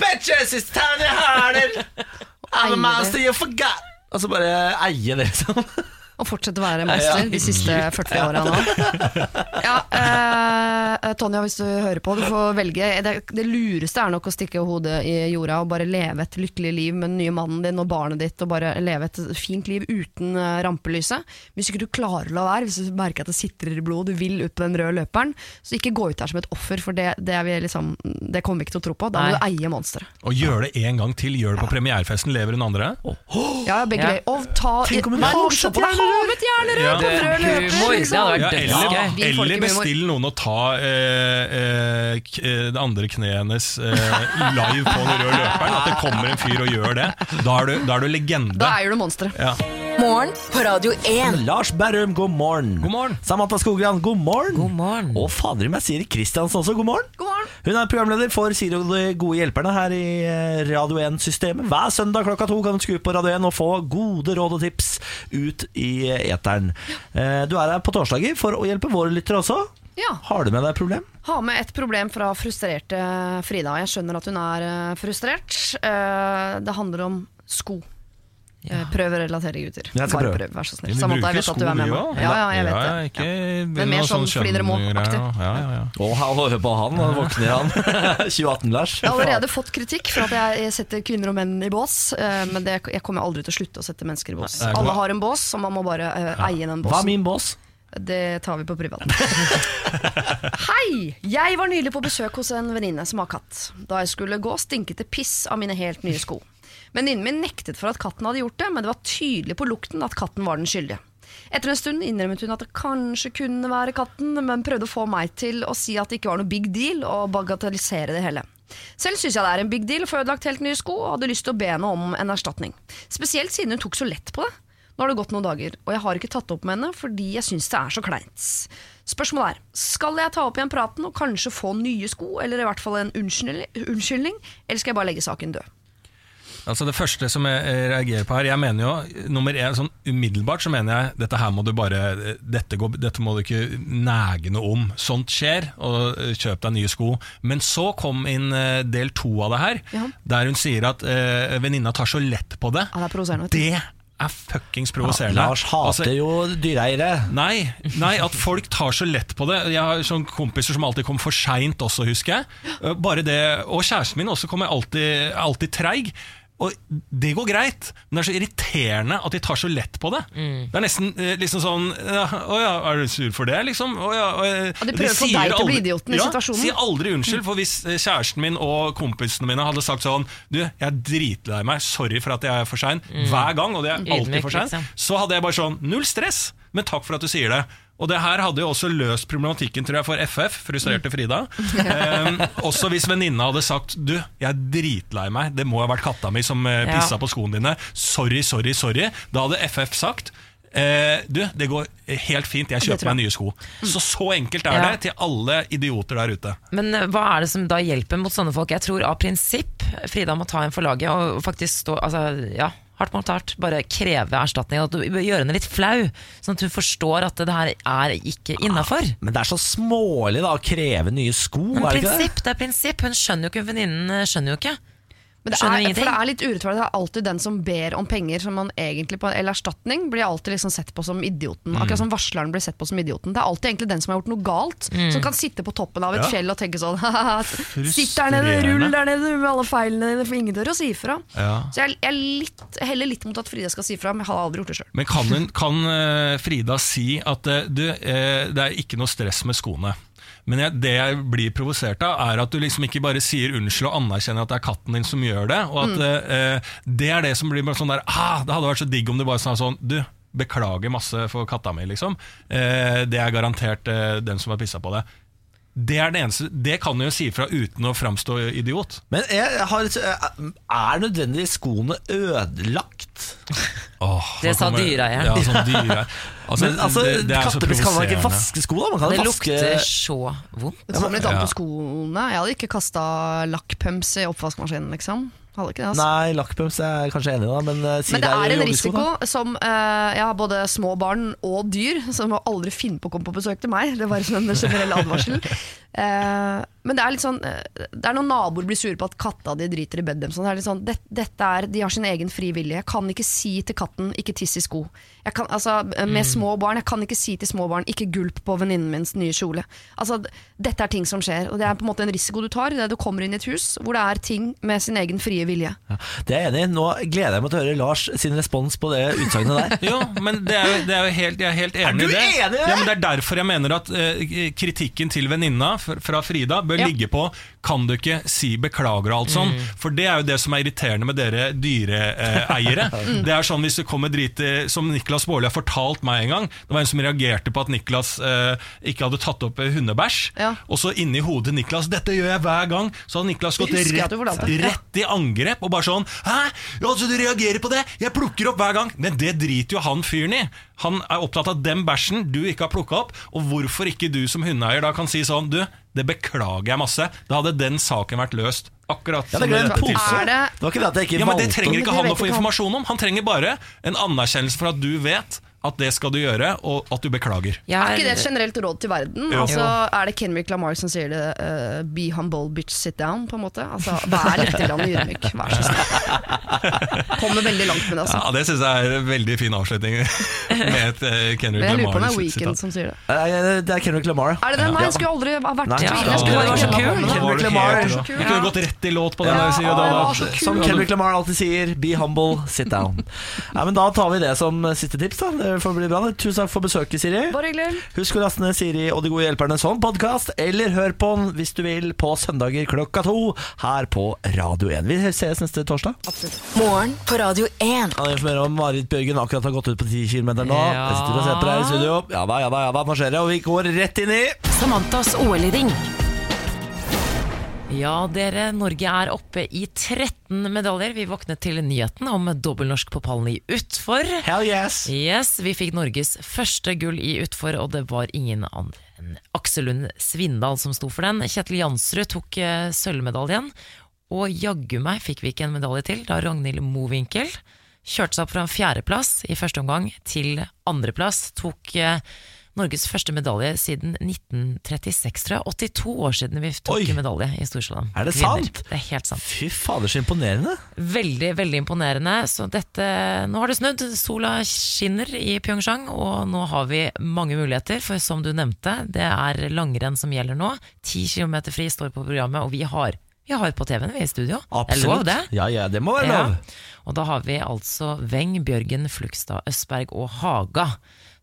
Speaker 2: bitches, it's Tanya Harder. I'm a
Speaker 5: Eie
Speaker 2: master you forgot. Og så bare eie det, liksom.
Speaker 5: og fortsette å være meister de siste 40 åra nå. Ja, eh, Tonja, hvis du hører på, du får velge. Det, det lureste er nok å stikke hodet i jorda og bare leve et lykkelig liv med den nye mannen din og barnet ditt, og bare leve et fint liv uten eh, rampelyset. Hvis ikke du klarer å la være, hvis du merker at det sitrer i blodet, du vil ut på den røde løperen, så ikke gå ut der som et offer, for det, det, er vi liksom, det kommer vi ikke til å tro på. Da må du eie monsteret.
Speaker 1: Og gjør det en gang til. Gjør det på premierefesten. Lever hun andre?
Speaker 5: Ja, begge
Speaker 3: Ja.
Speaker 5: greier. Og ta
Speaker 2: Tenk om hun
Speaker 5: Nei,
Speaker 2: har
Speaker 5: fortsett,
Speaker 2: på deg,
Speaker 5: jeg har et hjernerød
Speaker 1: Ja.
Speaker 5: på en rød løper,
Speaker 3: Humor, det
Speaker 5: liksom.
Speaker 3: hadde vært
Speaker 1: Ja,
Speaker 3: dødsgøy.
Speaker 1: eller,
Speaker 5: Vi folk
Speaker 1: eller
Speaker 5: i humor.
Speaker 1: bestill noen å ta eh, eh, k- eh, det andre kneet hennes eh, live på den røde løperen. At det kommer en fyr og gjør det. Da er du, da er du legende.
Speaker 5: Da eier du monsteret.
Speaker 1: ja.
Speaker 4: Morgen på Radio 1.
Speaker 2: Lars Berrum, god morgen.
Speaker 1: God morgen.
Speaker 2: Samantha Skogran, god morgen.
Speaker 3: God morgen.
Speaker 2: Og fader i meg, Siri Kristiansen også, god morgen.
Speaker 5: God morgen.
Speaker 2: Hun er programleder for Siri og de gode hjelperne her i eh, Radio 1-systemet. Hver søndag klokka to kan du skru på Radio 1 og få gode råd og tips ut i eh, eteren. Eh, Du er her på torsdager for å hjelpe våre lyttere også.
Speaker 5: Ja.
Speaker 2: Har du med deg et problem?
Speaker 5: Har med et problem fra frustrerte Frida. Jeg skjønner at hun er eh, frustrert. Eh, Det handler om sko.
Speaker 3: Ja.
Speaker 5: Eh, Prøv å relatere, gutter.
Speaker 2: Jeg skal
Speaker 5: Bare
Speaker 2: prøve.
Speaker 5: prøv, vær så
Speaker 1: Vi
Speaker 5: snill. Samantha,
Speaker 1: bruker
Speaker 5: jeg vet
Speaker 1: sko,
Speaker 5: at du er
Speaker 1: vi
Speaker 5: med
Speaker 1: òg.
Speaker 5: meg. Ja, ja, jeg vet
Speaker 1: ja,
Speaker 5: det.
Speaker 1: Ikke,
Speaker 5: Ja.
Speaker 1: begynn
Speaker 5: Men mer
Speaker 1: noe
Speaker 5: sånn fordi dere må
Speaker 1: skjønnegreier.
Speaker 5: aktivt.
Speaker 1: Ja, ja, ja.
Speaker 2: Å, han hører på han, han våkner han. 2018, Lars.
Speaker 5: Jeg har allerede fått kritikk for at jeg setter kvinner og menn i bås, eh, men det, jeg kommer aldri til å slutte å sette mennesker i bås.
Speaker 1: Nei, det er
Speaker 5: Alle
Speaker 1: bra.
Speaker 5: har en bås, og man må bare eh, eie den
Speaker 2: Hva er
Speaker 5: båsen.
Speaker 2: min bås?
Speaker 5: Det tar vi på privat. Hei! Jeg var nylig på besøk hos en venninne som har katt. Da jeg skulle gå, stinket det piss av mine helt nye sko. Venninnen min nektet for at katten hadde gjort det, men det var tydelig på lukten at katten var den skyldige. Etter en stund innrømmet hun at det kanskje kunne være katten, men prøvde å få meg til å si at det ikke var noe big deal, og bagatellisere det hele. Selv syns jeg det er en big deal å få ødelagt helt nye sko, og hadde lyst til å be henne om en erstatning. Spesielt siden hun tok så lett på det. Nå har det gått noen dager, og jeg har ikke tatt det opp med henne fordi jeg syns det er så kleint. Spørsmålet er, skal jeg ta opp igjen praten og kanskje få nye sko, eller i hvert fall en unnskyldning, unnskyldning eller skal jeg bare legge saken død?
Speaker 1: Altså Det første som jeg eh, reagerer på her Jeg mener jo, eh, nummer én, sånn umiddelbart så mener jeg Dette her må du bare eh, Dette, går, dette må du ikke nege noe om Sånt skjer, og eh, kjøp deg nye sko Men så kom inn eh, del to av det her
Speaker 5: Ja.
Speaker 1: Der hun sier at eh, venninna tar så lett på det
Speaker 5: Ja, det er provoserende. vet du.
Speaker 1: Det er fuckings provoserende
Speaker 2: Lars hater
Speaker 1: Altså,
Speaker 2: jo dyreeiere.
Speaker 1: Nei, nei, at folk tar så lett på det. Jeg har sånne kompiser som alltid kom for seint også, husker jeg. Eh, Bare det, Og kjæresten min også kommer alltid, alltid treig. Og det går greit, men det er så irriterende at de tar så lett på det.
Speaker 5: Mm.
Speaker 1: Det er nesten eh, liksom sånn ja, 'Å ja, er du sur for det?' liksom. Å ja, eh,
Speaker 5: Og de prøver å få deg til å bli idioten i
Speaker 1: ja,
Speaker 5: situasjonen.
Speaker 1: Si aldri unnskyld, for hvis eh, kjæresten min og kompisene mine hadde sagt sånn 'Du, jeg er dritlei meg, sorry for at jeg er for sein',
Speaker 5: Mm.
Speaker 1: hver gang, og det er
Speaker 3: Ydmyk,
Speaker 1: alltid for sein,
Speaker 3: liksom.
Speaker 1: så hadde jeg bare sånn Null stress, men takk for at du sier det. Og det her hadde jo også løst problematikken tror jeg, for FF, frustrerte Frida. Ehm, også hvis venninna hadde sagt Du, jeg er dritlei meg, det må ha vært katta mi som eh,
Speaker 3: Ja.
Speaker 1: pissa på skoene dine. Sorry, sorry, sorry. Da hadde FF sagt «Eh, du, det går helt fint, jeg
Speaker 5: Det
Speaker 1: kjøper
Speaker 5: tror
Speaker 1: meg nye sko. Så så enkelt er
Speaker 3: Ja.
Speaker 1: det til alle idioter der ute.
Speaker 3: Men eh, hva er det som da hjelper mot sånne folk? Jeg tror av prinsipp Frida må ta en for laget og faktisk stå altså, ja, hardt mot hardt. Bare kreve erstatning. og At du gjør henne litt flau, sånn at hun forstår at det her er ikke innafor.
Speaker 2: Men det er så smålig da å kreve nye sko.
Speaker 3: Men
Speaker 2: Ah, er det ikke det?
Speaker 3: prinsipp, det er prinsipp. Hun skjønner jo ikke, venninnen eh, skjønner jo ikke.
Speaker 5: Men det
Speaker 3: Skjønner
Speaker 5: er,
Speaker 3: ingenting.
Speaker 5: for det er litt urettferdig. Det er alltid den som ber om penger som man egentlig på, eller erstatning, blir alltid liksom sett på som idioten.
Speaker 1: Mm.
Speaker 5: Akkurat som varsleren blir sett på som idioten. Det er alltid egentlig den som har gjort noe galt, som kan sitte på toppen av et
Speaker 1: Mm. Ja.
Speaker 5: fjell og tenke sånn Sitt der nede, rull der nede med alle feilene dine, for ingen tør å si ifra.
Speaker 1: Ja.
Speaker 5: Så jeg, jeg er litt, heller litt mot at Frida skal si ifra, men jeg har aldri gjort det sjøl.
Speaker 1: Men kan, hun, kan eh, Frida si at eh, du, eh, det er ikke noe stress med skoene? Men jeg, det jeg blir provosert av, er at du liksom ikke bare sier unnskyld og anerkjenner at det er katten din som gjør det. Og
Speaker 2: Mm.
Speaker 1: at eh, eh, det er det som blir bare sånn der ah, Det hadde vært så digg om du bare sa sånn Du, beklager masse for katta mi, liksom. Eh, det er garantert eh, den som har pissa på det. Det er det eneste Det kan du jo si fra uten å framstå idiot.
Speaker 2: Men jeg har, er nødvendigvis skoene ødelagt?
Speaker 3: Det sa dyreeieren.
Speaker 1: Ja, sånn dyreeier. Altså,
Speaker 2: Men altså,
Speaker 1: det, det er så
Speaker 2: Kattepiss kan man ikke
Speaker 1: provoserende.
Speaker 2: vaske sko, da? Man kan
Speaker 3: Det
Speaker 2: vaske
Speaker 3: lukter så vondt.
Speaker 5: Det kommer litt an
Speaker 1: Ja.
Speaker 5: på skoene. Jeg hadde ikke kasta lakkpøms i oppvaskmaskinen, liksom. Hadde ikke det, altså.
Speaker 2: Nei, lakkpums er jeg kanskje enig i, da. Men, eh, si
Speaker 5: Men det er en
Speaker 2: joggesko,
Speaker 5: risiko
Speaker 2: da.
Speaker 5: som eh, Jeg har både små barn og dyr, så må aldri finne på å komme på besøk til meg. Det var sånn en generell advarsel. Eh, Men det er litt sånn eh, Det er når naboer blir sure på at katta di driter i bedet deres. Sånn, det er litt sånn, det, dette er, de har sin egen frie vilje. Jeg kan ikke si til katten 'ikke tiss i sko'. Jeg kan, altså,
Speaker 2: Mm.
Speaker 5: med små barn, Jeg kan ikke si til små barn 'ikke gulp på venninnen mins nye kjole'. Altså, d- dette er ting som skjer, og det er på en måte en risiko du tar idet du kommer inn i et hus hvor det er ting med sin egen frie vilje.
Speaker 2: Ja, det er jeg enig i. Nå gleder jeg meg til å høre Lars sin respons på det utsagnet der.
Speaker 1: Jo, men det er, jo- det er jo helt, jeg er helt enig
Speaker 2: du
Speaker 1: i det.
Speaker 2: enig i det?
Speaker 1: Ja, men det er derfor jeg mener at eh, kritikken til venninna f- fra Frida bør
Speaker 5: Ja. Mm.
Speaker 1: ligge på kan du ikke si beklager og alt sånn. For det er jo det som er irriterende med dere dyreeiere.
Speaker 5: Mm.
Speaker 1: Det er sånn hvis det kommer drit i- som Niklas Baarli har fortalt meg en gang. Det var en som reagerte på at Niklas eh, ikke hadde tatt opp eh, hundebæsj.
Speaker 5: Ja.
Speaker 1: Og så inni hodet til Niklas 'dette gjør jeg hver gang', så hadde Niklas gått
Speaker 5: Det husker jeg
Speaker 1: rett,
Speaker 5: at du fortalte. Ja.
Speaker 1: rett rett i angrep og bare sånn Hæ? Ja, altså, du reagerer på det? Jeg plukker opp hver gang. Men det driter jo han fyren i. Han er opptatt av den bæsjen du ikke har plukka opp, og hvorfor ikke du som hundeeier da kan si sånn Du, det beklager jeg masse. Da hadde den saken vært løst. Akkurat
Speaker 2: Ja, det,
Speaker 1: som i
Speaker 2: er
Speaker 1: dette
Speaker 2: en pose.
Speaker 1: tilfellet.
Speaker 5: Er det-
Speaker 2: det var ikke det at jeg ikke
Speaker 1: Ja, men Det
Speaker 2: valgte
Speaker 1: trenger
Speaker 2: den.
Speaker 1: ikke
Speaker 5: Men
Speaker 1: han
Speaker 5: det
Speaker 1: å få
Speaker 5: vet ikke
Speaker 1: informasjon om. Han trenger bare en anerkjennelse for at du vet at det skal du gjøre, og at du beklager.
Speaker 3: Jeg
Speaker 5: Er ikke det et generelt råd til verden?
Speaker 1: Jo.
Speaker 5: Altså, er det Kenrick Lamar som sier det eh, 'be humble, bitch, sit down'? på en måte? Altså, Vær litt grann ydmyk, vær så snill. Kommer veldig langt med det, altså.
Speaker 1: Ja, Det syns jeg er en veldig fin avslutning med et eh, Kendrick
Speaker 5: Men jeg lurer på om det er
Speaker 1: Lamar-sitat.
Speaker 5: Weekend som sier det.
Speaker 2: Eh, Det er Kendrick Lamar.
Speaker 5: Er det det? Nei,
Speaker 2: Ja.
Speaker 5: jeg skulle aldri ha vært
Speaker 2: Nei.
Speaker 5: Weekend.
Speaker 3: Ja,
Speaker 5: Jeg skulle
Speaker 3: det
Speaker 5: bare
Speaker 3: var så
Speaker 5: kjenne
Speaker 3: kult.
Speaker 5: på
Speaker 1: Da
Speaker 5: det.
Speaker 1: var
Speaker 2: Kendrick
Speaker 1: det
Speaker 2: Lamar.
Speaker 1: helt rå. Du kunne gått rett i låt på den.
Speaker 5: Ja,
Speaker 1: der, sier jeg da,
Speaker 5: det
Speaker 1: da.
Speaker 5: var så
Speaker 2: Som Kendrick Lamar alltid sier, be humble, sit down. Nei, men Da tar vi det som siste tips. da Det får bli bra det. Tusen takk for besøket, Siri.
Speaker 5: Bare hyggelig.
Speaker 2: Husk å laste ned Siri og De gode hjelperne som podkast, eller hør på den hvis du vil på søndager klokka to her på Radio 1. Vi ses neste torsdag.
Speaker 4: Morgen på Radio
Speaker 2: Jeg
Speaker 4: 1.
Speaker 2: kan informere om Marit Bjørgen akkurat har gått ut på 10 km nå.
Speaker 3: Ja.
Speaker 2: Jeg sitter og ser på deg i studio. Ja da, ja da, ja da, nå skjer det. Og vi går rett inn i
Speaker 4: Samantas OL-ring.
Speaker 3: Ja, dere, Norge er oppe i 13 medaljer. Vi våknet til nyheten om dobbeltnorsk på pallen i utfor.
Speaker 2: Hell yes!
Speaker 3: Yes, Vi fikk Norges første gull i utfor, og det var ingen andre enn Aksel Lund Svindal som sto for den. Kjetil Jansrud tok eh, sølvmedaljen, og jaggu meg fikk vi ikke en medalje til da Ragnhild Mowinckel kjørte seg opp fra fjerdeplass i første omgang til andreplass. Tok eh, Norges første medalje siden 1936, tror jeg. 82 år siden vi tok
Speaker 2: Oi.
Speaker 3: medalje i Storslalåm.
Speaker 2: Er det
Speaker 3: Kvinner.
Speaker 2: sant?
Speaker 3: Det er helt sant.
Speaker 2: Fy fader, så imponerende.
Speaker 3: Veldig, veldig imponerende. Så dette, nå har det snudd. Sola skinner i Pyeongchang, og nå har vi mange muligheter. For som du nevnte, det er langrenn som gjelder nå. 10 km fri står på programmet, og vi har, vi har på TV-en, vi i studio. Det er lov, det.
Speaker 2: Ja, ja, det må være
Speaker 3: Ja.
Speaker 2: lov.
Speaker 3: Og da har vi altså Weng, Bjørgen, Flugstad, Østberg og Haga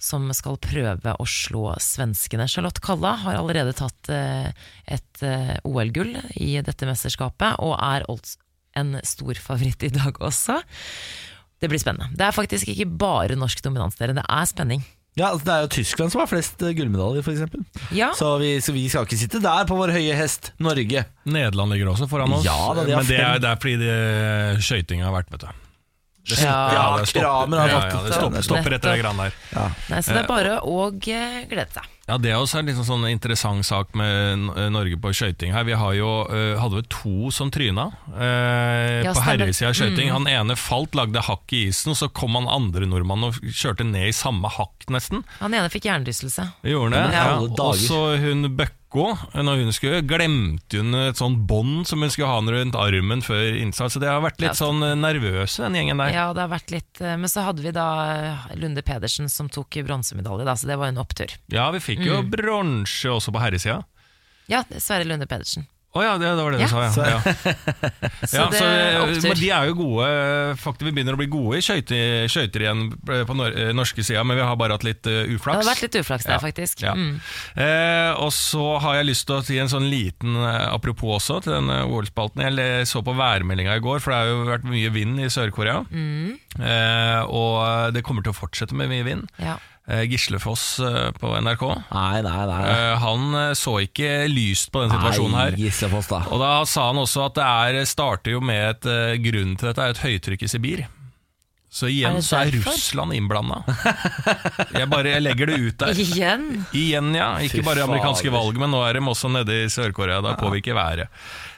Speaker 3: som skal prøve å slå svenskene. Charlotte Kalla har allerede tatt eh, et eh, OL-gull i dette mesterskapet, og er altså en stor favoritt i dag også. Det blir spennende. Det er faktisk ikke bare norsk dominans, dere. Det er spenning.
Speaker 2: Ja, altså, Det er jo Tyskland som har flest eh, gullmedaljer, f.eks.
Speaker 3: Ja.
Speaker 2: Så, vi- så vi skal ikke sitte der på vår høye hest, Norge.
Speaker 1: Nederland ligger også foran oss,
Speaker 2: Ja, da, de har
Speaker 1: men det er,
Speaker 2: fem-
Speaker 1: det er fordi det, skøytinga har vært, vet du. Det
Speaker 3: Ja,
Speaker 1: det stopper,
Speaker 2: kramer har
Speaker 1: ja,
Speaker 2: tatt
Speaker 1: ja, det
Speaker 2: det.
Speaker 1: stopper, stopper etter det grann der.
Speaker 3: Nei, så det er bare å eh, glede seg.
Speaker 1: Ja, Det er også en liksom sånn interessant sak med N- eh, Norge på skøyting her. Vi har jo, eh, hadde vel to som tryna eh,
Speaker 3: Ja, stemmer.
Speaker 1: på
Speaker 3: Mm.
Speaker 1: herresida av skøyting. Han ene falt, lagde hakk i isen, og så kom han andre nordmannen og kjørte ned i samme hakk, nesten.
Speaker 3: Han ene fikk hjernerystelse.
Speaker 1: Det Gjorde det.
Speaker 2: Ja,
Speaker 1: Ja,
Speaker 2: alle dager.
Speaker 1: og så hun Bøkko, når hun skulle, glemte hun et sånn bånd som hun skulle ha rundt armen før innsats. Så det har vært
Speaker 3: Ja.
Speaker 1: litt sånn eh, nervøse, den gjengen der.
Speaker 3: Ja, det har vært litt eh, Men så hadde vi da eh, Lunde Pedersen som tok bronsemedalje, da, så det var en opptur.
Speaker 1: Ja, vi fikk
Speaker 3: Mm.
Speaker 1: jo bronse også på herresida.
Speaker 3: Ja, Sverre Lunde Pedersen.
Speaker 1: Å ja, det, det var det
Speaker 3: Ja.
Speaker 1: du sa, ja. ja.
Speaker 3: Så
Speaker 1: ja
Speaker 3: det
Speaker 1: så, eh,
Speaker 3: er opptur.
Speaker 1: men de er jo gode Faktisk, vi begynner å bli gode i skøyte- skøyter igjen på nor eh, norske sida, men vi har bare hatt litt eh,
Speaker 3: Det
Speaker 1: uflaks.
Speaker 3: hadde vært litt uflaks der, faktisk.
Speaker 1: Ja.
Speaker 3: Mm.
Speaker 1: Eh, og så har jeg lyst til å si en sånn liten eh, apropos også til denne OL-spalten. Jeg le- så på værmeldinga i går, for det har jo vært mye vind i Sør-Korea.
Speaker 3: Mm.
Speaker 1: Eh, og det kommer til å fortsette med mye vind.
Speaker 3: Ja.
Speaker 1: Eh, Gislefoss eh, på NRK,
Speaker 2: Nei, nei, nei.
Speaker 1: eh, han eh, så ikke lyst på den situasjonen her.
Speaker 2: Nei, Gislefoss, da.
Speaker 1: Og da eh, sa han også at det er, starter jo med et eh, grunn til dette er et høytrykk i Sibir. Så
Speaker 3: Er
Speaker 1: igjen
Speaker 3: det
Speaker 1: så er
Speaker 3: derfor?
Speaker 1: Russland innblanda. Jeg bare jeg legger det ut der.
Speaker 3: Igjen?
Speaker 1: Igjen, ja.
Speaker 2: Fy
Speaker 1: Ikke bare amerikanske
Speaker 2: fader.
Speaker 1: valg, men nå er de også nede i Sør-Korea. Da påvirker været.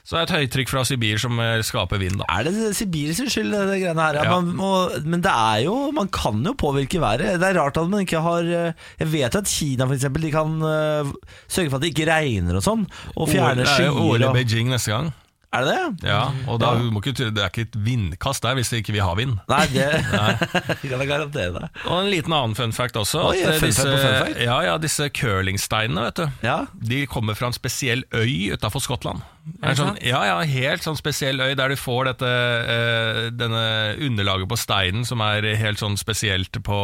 Speaker 1: Så det er et høytrykk fra Sibir som eh, skaper vind, da.
Speaker 2: Er det Sibirs skyld, det, det greiene her? Ja,
Speaker 1: Ja.
Speaker 2: Man må, men det er jo, man kan jo påvirke været. Det er rart at man ikke har eh, Jeg vet at Kina for eksempel, de kan eh, sørge for at det ikke regner og sånn. Og fjerne
Speaker 1: Det er
Speaker 2: skyer.
Speaker 1: jo
Speaker 2: Mm.
Speaker 1: OL i
Speaker 2: Og,
Speaker 1: Beijing neste gang.
Speaker 2: er det det?
Speaker 1: Ja, og da må ikke, tro- Det er ikke et vindkast der hvis det ikke vi har vind.
Speaker 2: Nei, det kan jeg garantere deg.
Speaker 1: Og en liten annen fun fact også.
Speaker 2: Oi,
Speaker 1: at, eh,
Speaker 2: fun fact på fun fact.
Speaker 1: ja, ja, disse curlingsteinene, vet du.
Speaker 2: Ja.
Speaker 1: De kommer fra en spesiell øy utafor Skottland. Det er sånn, ja, ja, helt sånn spesiell øy der du får dette eh, denne underlaget på steinen som er helt sånn spesielt på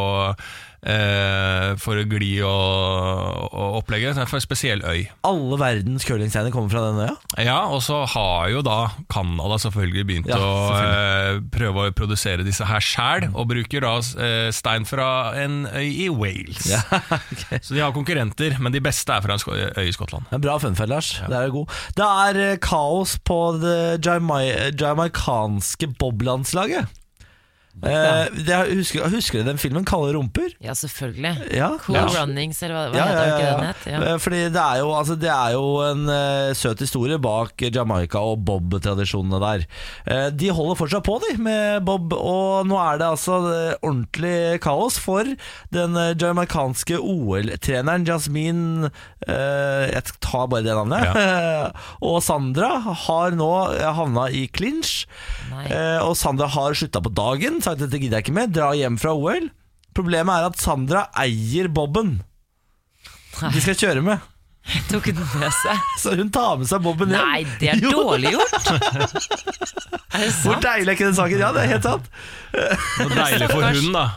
Speaker 1: eh, For å gli og, og opplegget. Så Det er for en spesiell øy.
Speaker 2: Alle verdens curlingsteiner kommer fra den øya?
Speaker 1: Ja, og så har jo da Canada selvfølgelig begynt
Speaker 2: Ja,
Speaker 1: å eh, prøve å produsere disse her sjæl, og bruker da eh, stein fra en øy i Wales. Så de har konkurrenter, men de beste er fra en sko- øy i Skottland.
Speaker 2: Det er Bra funfair, Lars. Det er jo god. Det er eh, kaos på det jamai jamaikanske boblandslaget. Eh, det er- husker, husker du den filmen 'Kalde rumper'?
Speaker 3: Ja, selvfølgelig.
Speaker 2: Ja.
Speaker 3: Cool
Speaker 2: Ja.
Speaker 3: Runnings, eller hva, hva
Speaker 2: Ja,
Speaker 3: heter
Speaker 2: ja,
Speaker 3: det
Speaker 2: ja,
Speaker 3: ikke den
Speaker 2: ja.
Speaker 3: het? Ja.
Speaker 2: Eh, Fordi det er jo, altså, det er jo en eh, søt historie bak Jamaica og bob-tradisjonene der. Eh, de holder fortsatt på, de, med bob, og nå er det altså eh, ordentlig kaos for den eh, jamaicanske OL-treneren Jasmin eh, Jeg tar bare det navnet. og Sandra har nå eh, havna i clinch.
Speaker 3: Nei.
Speaker 2: Eh, og Sandra har slutta på dagen, sagt dette gidder jeg ikke mer, dra hjem fra OL. Problemet er at Sandra eier boben de skal kjøre med.
Speaker 3: Tok hun det med seg?
Speaker 2: Så hun tar med seg boben hjem.
Speaker 3: Nei, det er
Speaker 2: Jo.
Speaker 3: dårlig gjort! Er det
Speaker 2: Hvor
Speaker 3: sant?
Speaker 2: deilig er ikke den saken? Ja, det er helt sant.
Speaker 1: Og deilig for hun, da.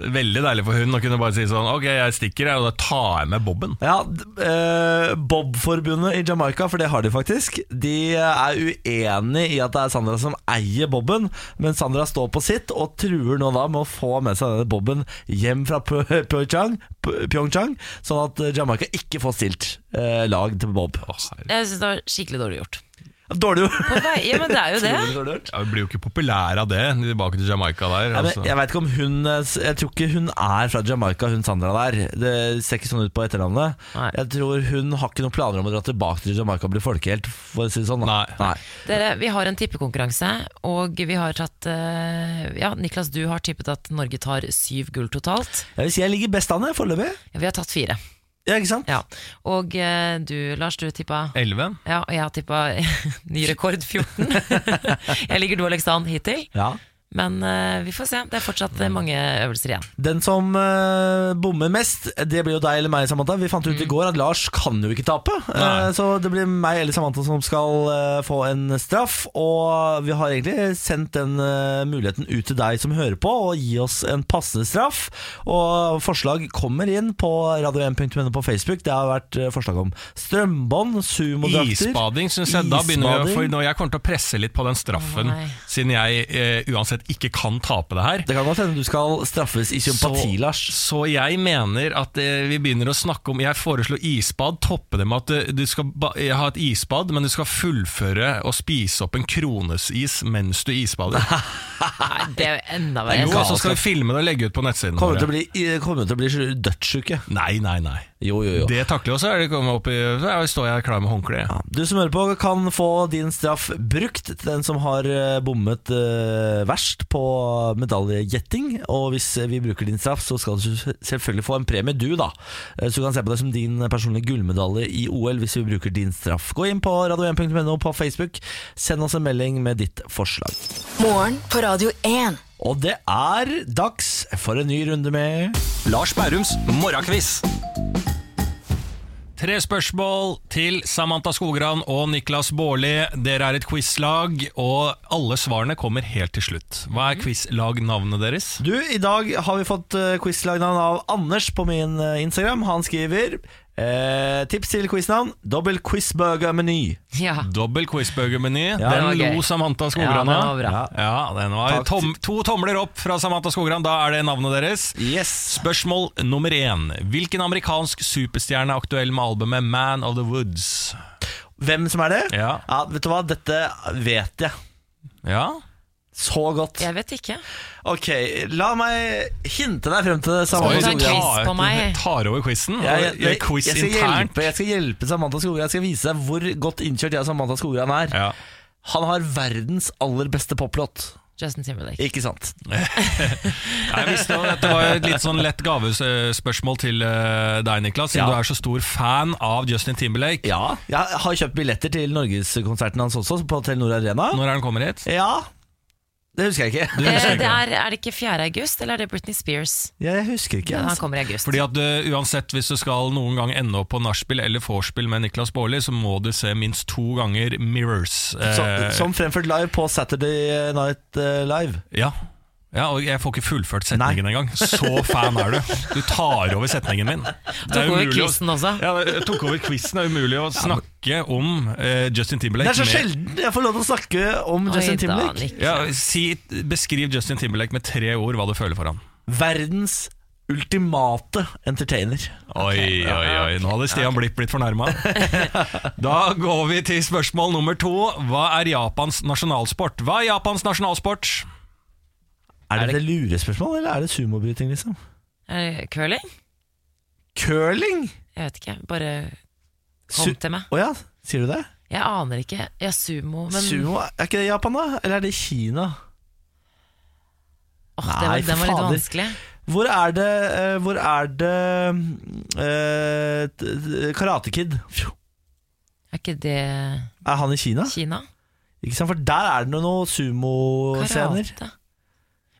Speaker 1: Veldig deilig for hun å kunne bare si sånn Ok, jeg stikker, jeg, og da tar jeg med Bobben.
Speaker 2: Ja, d- eh, Bob-forbundet i Jamaica, for det har de faktisk, de er uenig i at det er Sandra som eier boben, men Sandra står på sitt og truer nå da med å få med seg denne boben hjem fra P- Pyeongchang, P- Pyeongchang sånn at Jamaica ikke får stilt eh, lag til bob.
Speaker 3: Jeg syns det var skikkelig dårlig gjort.
Speaker 2: Dårlig gjort.
Speaker 3: På vei, ja, men det er jo det.
Speaker 2: Utrolig dårlig gjort.
Speaker 1: Ja, vi blir jo ikke populære av det, tilbake til Jamaica der.
Speaker 2: Nei,
Speaker 1: Altså.
Speaker 2: men jeg vet ikke om hun eh, Jeg tror ikke hun er fra Jamaica, hun Sandra der. Det ser ikke sånn ut på etternavnet.
Speaker 3: Nei.
Speaker 2: Jeg tror hun har ikke noen planer om å dra tilbake til Jamaica og bli folkehelt, for å si det sånn. Da.
Speaker 1: Nei.
Speaker 3: Dere, vi har en tippekonkurranse, og vi har tatt eh, Ja, Niklas, du har tippet at Norge tar syv gull totalt.
Speaker 2: Jeg vil si jeg ligger best an, jeg, foreløpig.
Speaker 3: Ja, vi har tatt fire.
Speaker 2: Ja, ikke sant?
Speaker 3: Ja. Og eh, du, Lars, du tippa
Speaker 1: Elleve?
Speaker 3: Ja, og jeg har tippa ny rekord 14. jeg ligger dårligst an hittil,
Speaker 2: Ja.
Speaker 3: men eh, vi får se. Det er fortsatt eh, mange øvelser igjen.
Speaker 2: Den som eh, bommer mest, det blir jo deg eller meg, Samantha. Vi fant ut i går at Lars kan jo ikke tape.
Speaker 1: Mm. Nei.
Speaker 2: Eh, så det blir meg eller Samantha som skal eh, få en straff. Og vi har egentlig sendt den eh, muligheten ut til deg som hører på, og gi oss en passende straff. Og forslag kommer inn på radio1.no på Facebook. Det har vært eh, forslag om strømbånd, sumodrakter
Speaker 1: Isbading, syns jeg. Da begynner vi, å-
Speaker 2: Isbading.
Speaker 1: for nå, jeg kommer til å presse litt på den straffen,
Speaker 3: Nei.
Speaker 1: siden jeg eh, uansett ikke kan tape det her.
Speaker 2: Det kan godt hende du skal straffes i sympati, Lars.
Speaker 1: så jeg mener at eh, vi begynner å snakke om Jeg foreslår isbad. Toppe det med at eh, du skal ba, eh, ha et isbad, men du skal fullføre og spise opp en kronesis mens du isbader.
Speaker 3: Nei, det er jo
Speaker 2: Det
Speaker 3: enda
Speaker 2: er
Speaker 3: verre.
Speaker 1: Jo,
Speaker 2: galskap.
Speaker 1: og så skal vi filme det og legge ut på nettsiden.
Speaker 2: Kommer
Speaker 1: vår.
Speaker 2: til å bli, eh, kommer til å bli dødssyke.
Speaker 1: Nei, nei, nei.
Speaker 2: Jo, jo, jo.
Speaker 1: Det takler jeg også. Er det kommet opp i, så er- står jeg klar med håndkle.
Speaker 2: Ja, Du som hører på kan få din straff brukt til den som har eh, bommet eh, verst på medaljegjetting. Og hvis eh, vi bruker din straff, så skal du s- selvfølgelig få en premie, du, da. Eh, Så du kan se på det som din personlige gullmedalje i OL hvis vi bruker din straff. Gå inn på radio1.no på Facebook. Send oss en melding med ditt forslag.
Speaker 4: Morgen på Radio 1.
Speaker 2: Og det er dags for en ny runde med
Speaker 1: Lars Bærums morgenkviss. Tre spørsmål til Samantha Skogran og Niklas Baarli. Dere er et quizlag, og alle svarene kommer helt til slutt.
Speaker 3: Mhm.
Speaker 1: Hva er quizlagnavnet deres?
Speaker 2: Du, i dag har vi fått eh, quizlagnavn av Anders på min eh, Instagram. Han skriver eh, Tips til quiznavn. Dobbel quizburger-meny.
Speaker 3: Ja.
Speaker 1: Dobbel quizburgermeny.
Speaker 3: det var
Speaker 1: den
Speaker 3: gøy.
Speaker 1: lo Samantha
Speaker 3: Ja,
Speaker 1: Skogran
Speaker 3: den
Speaker 1: av.
Speaker 3: var bra.
Speaker 1: Ja, den var
Speaker 2: Takk til-
Speaker 1: tom, to tomler opp fra Samantha Skogran. Da er det navnet deres.
Speaker 2: Yes.
Speaker 1: Spørsmål nummer én. Hvilken amerikansk superstjerne er aktuell med albumet Man of the Woods?
Speaker 2: Hvem som er det?
Speaker 1: Ja.
Speaker 2: Vet du hva, dette vet jeg.
Speaker 1: Ja?
Speaker 2: Så godt.
Speaker 3: Jeg vet ikke.
Speaker 2: Ok, la meg hinte deg frem til det samme.
Speaker 3: Oi,
Speaker 1: Oi,
Speaker 3: ta en
Speaker 1: du
Speaker 3: quiz
Speaker 1: tar-
Speaker 3: på meg.
Speaker 1: Tar over quizen.
Speaker 2: Jeg, jeg, jeg,
Speaker 1: Quiz
Speaker 2: skal
Speaker 1: internt.
Speaker 2: hjelpe, jeg skal hjelpe Samantha Skogran. Jeg skal vise deg hvor godt innkjørt jeg og Samantha Skogran er.
Speaker 1: Ja.
Speaker 2: Han har verdens aller beste poplåt.
Speaker 3: Justin Timberlake.
Speaker 2: Ikke sant?
Speaker 1: Nei, Jeg visste jo at Det var jo et litt sånn lett gavespørsmål til eh, deg, Niklas, siden
Speaker 2: Ja.
Speaker 1: du er så stor fan av Justin Timberlake.
Speaker 2: Ja. Jeg har kjøpt billetter til norgeskonserten hans også, på Telenor Arena.
Speaker 1: Når er han kommer hit?
Speaker 2: Ja, det husker jeg ikke.
Speaker 1: Du
Speaker 3: Eh,
Speaker 1: husker
Speaker 3: det
Speaker 1: ikke
Speaker 3: er,
Speaker 1: det?
Speaker 3: er det ikke 4. august, eller er det Britney Spears?
Speaker 2: Ja, jeg husker ikke.
Speaker 3: Ja, han
Speaker 2: Altså.
Speaker 3: kommer i august.
Speaker 1: Fordi at eh, uansett Hvis du skal noen gang ende opp på nachspiel eller vorspiel med Niklas Baarli, så må du se minst to ganger Mirrors. Eh,
Speaker 2: Som, som fremført live på Saturday Night eh, Live.
Speaker 1: Ja. ja, og jeg får ikke fullført
Speaker 2: Nei.
Speaker 1: setningen engang. Så fan er du. Du tar over setningen min. Det
Speaker 3: Tok over
Speaker 1: umulig å-
Speaker 3: quizen også.
Speaker 1: Ja, jeg tok over quizen. Det er umulig å snakke om eh, Justin
Speaker 2: Det
Speaker 1: Timberlake.
Speaker 2: er så
Speaker 1: med-
Speaker 2: sjelden jeg får lov til å snakke om
Speaker 3: Oi,
Speaker 2: Justin
Speaker 3: da,
Speaker 2: Timberlake.
Speaker 3: Nick.
Speaker 1: Ja, si, beskriv Justin Timberlake med tre ord hva du føler for ham.
Speaker 2: Verdens ultimate entertainer.
Speaker 1: Oi, oi, oi. Nå hadde Stian Blipp blitt fornærma. Da går vi til spørsmål nummer to. Hva er Japans nasjonalsport? Hva er Japans nasjonalsport?
Speaker 2: Er det et lurespørsmål, eller er det sumobryting, liksom?
Speaker 3: Er det curling?
Speaker 2: Curling!
Speaker 3: Jeg vet ikke. Bare
Speaker 2: Su-
Speaker 3: kom til meg.
Speaker 2: Å ja, sier du det?
Speaker 3: Jeg aner ikke. Ja, sumo, men
Speaker 2: Sumo, er ikke det i Japan, da? Eller er det i Kina?
Speaker 3: Åh, det
Speaker 2: Nei, for
Speaker 3: var, den var litt
Speaker 2: fader.
Speaker 3: vanskelig.
Speaker 2: Hvor er det eh, Hvor er det eh, t- t- Karate Kid? Fjo.
Speaker 3: Er ikke det
Speaker 2: Er han i Kina?
Speaker 3: Kina?
Speaker 2: Ikke sant, For der er det noen sumoscener.
Speaker 3: Karate.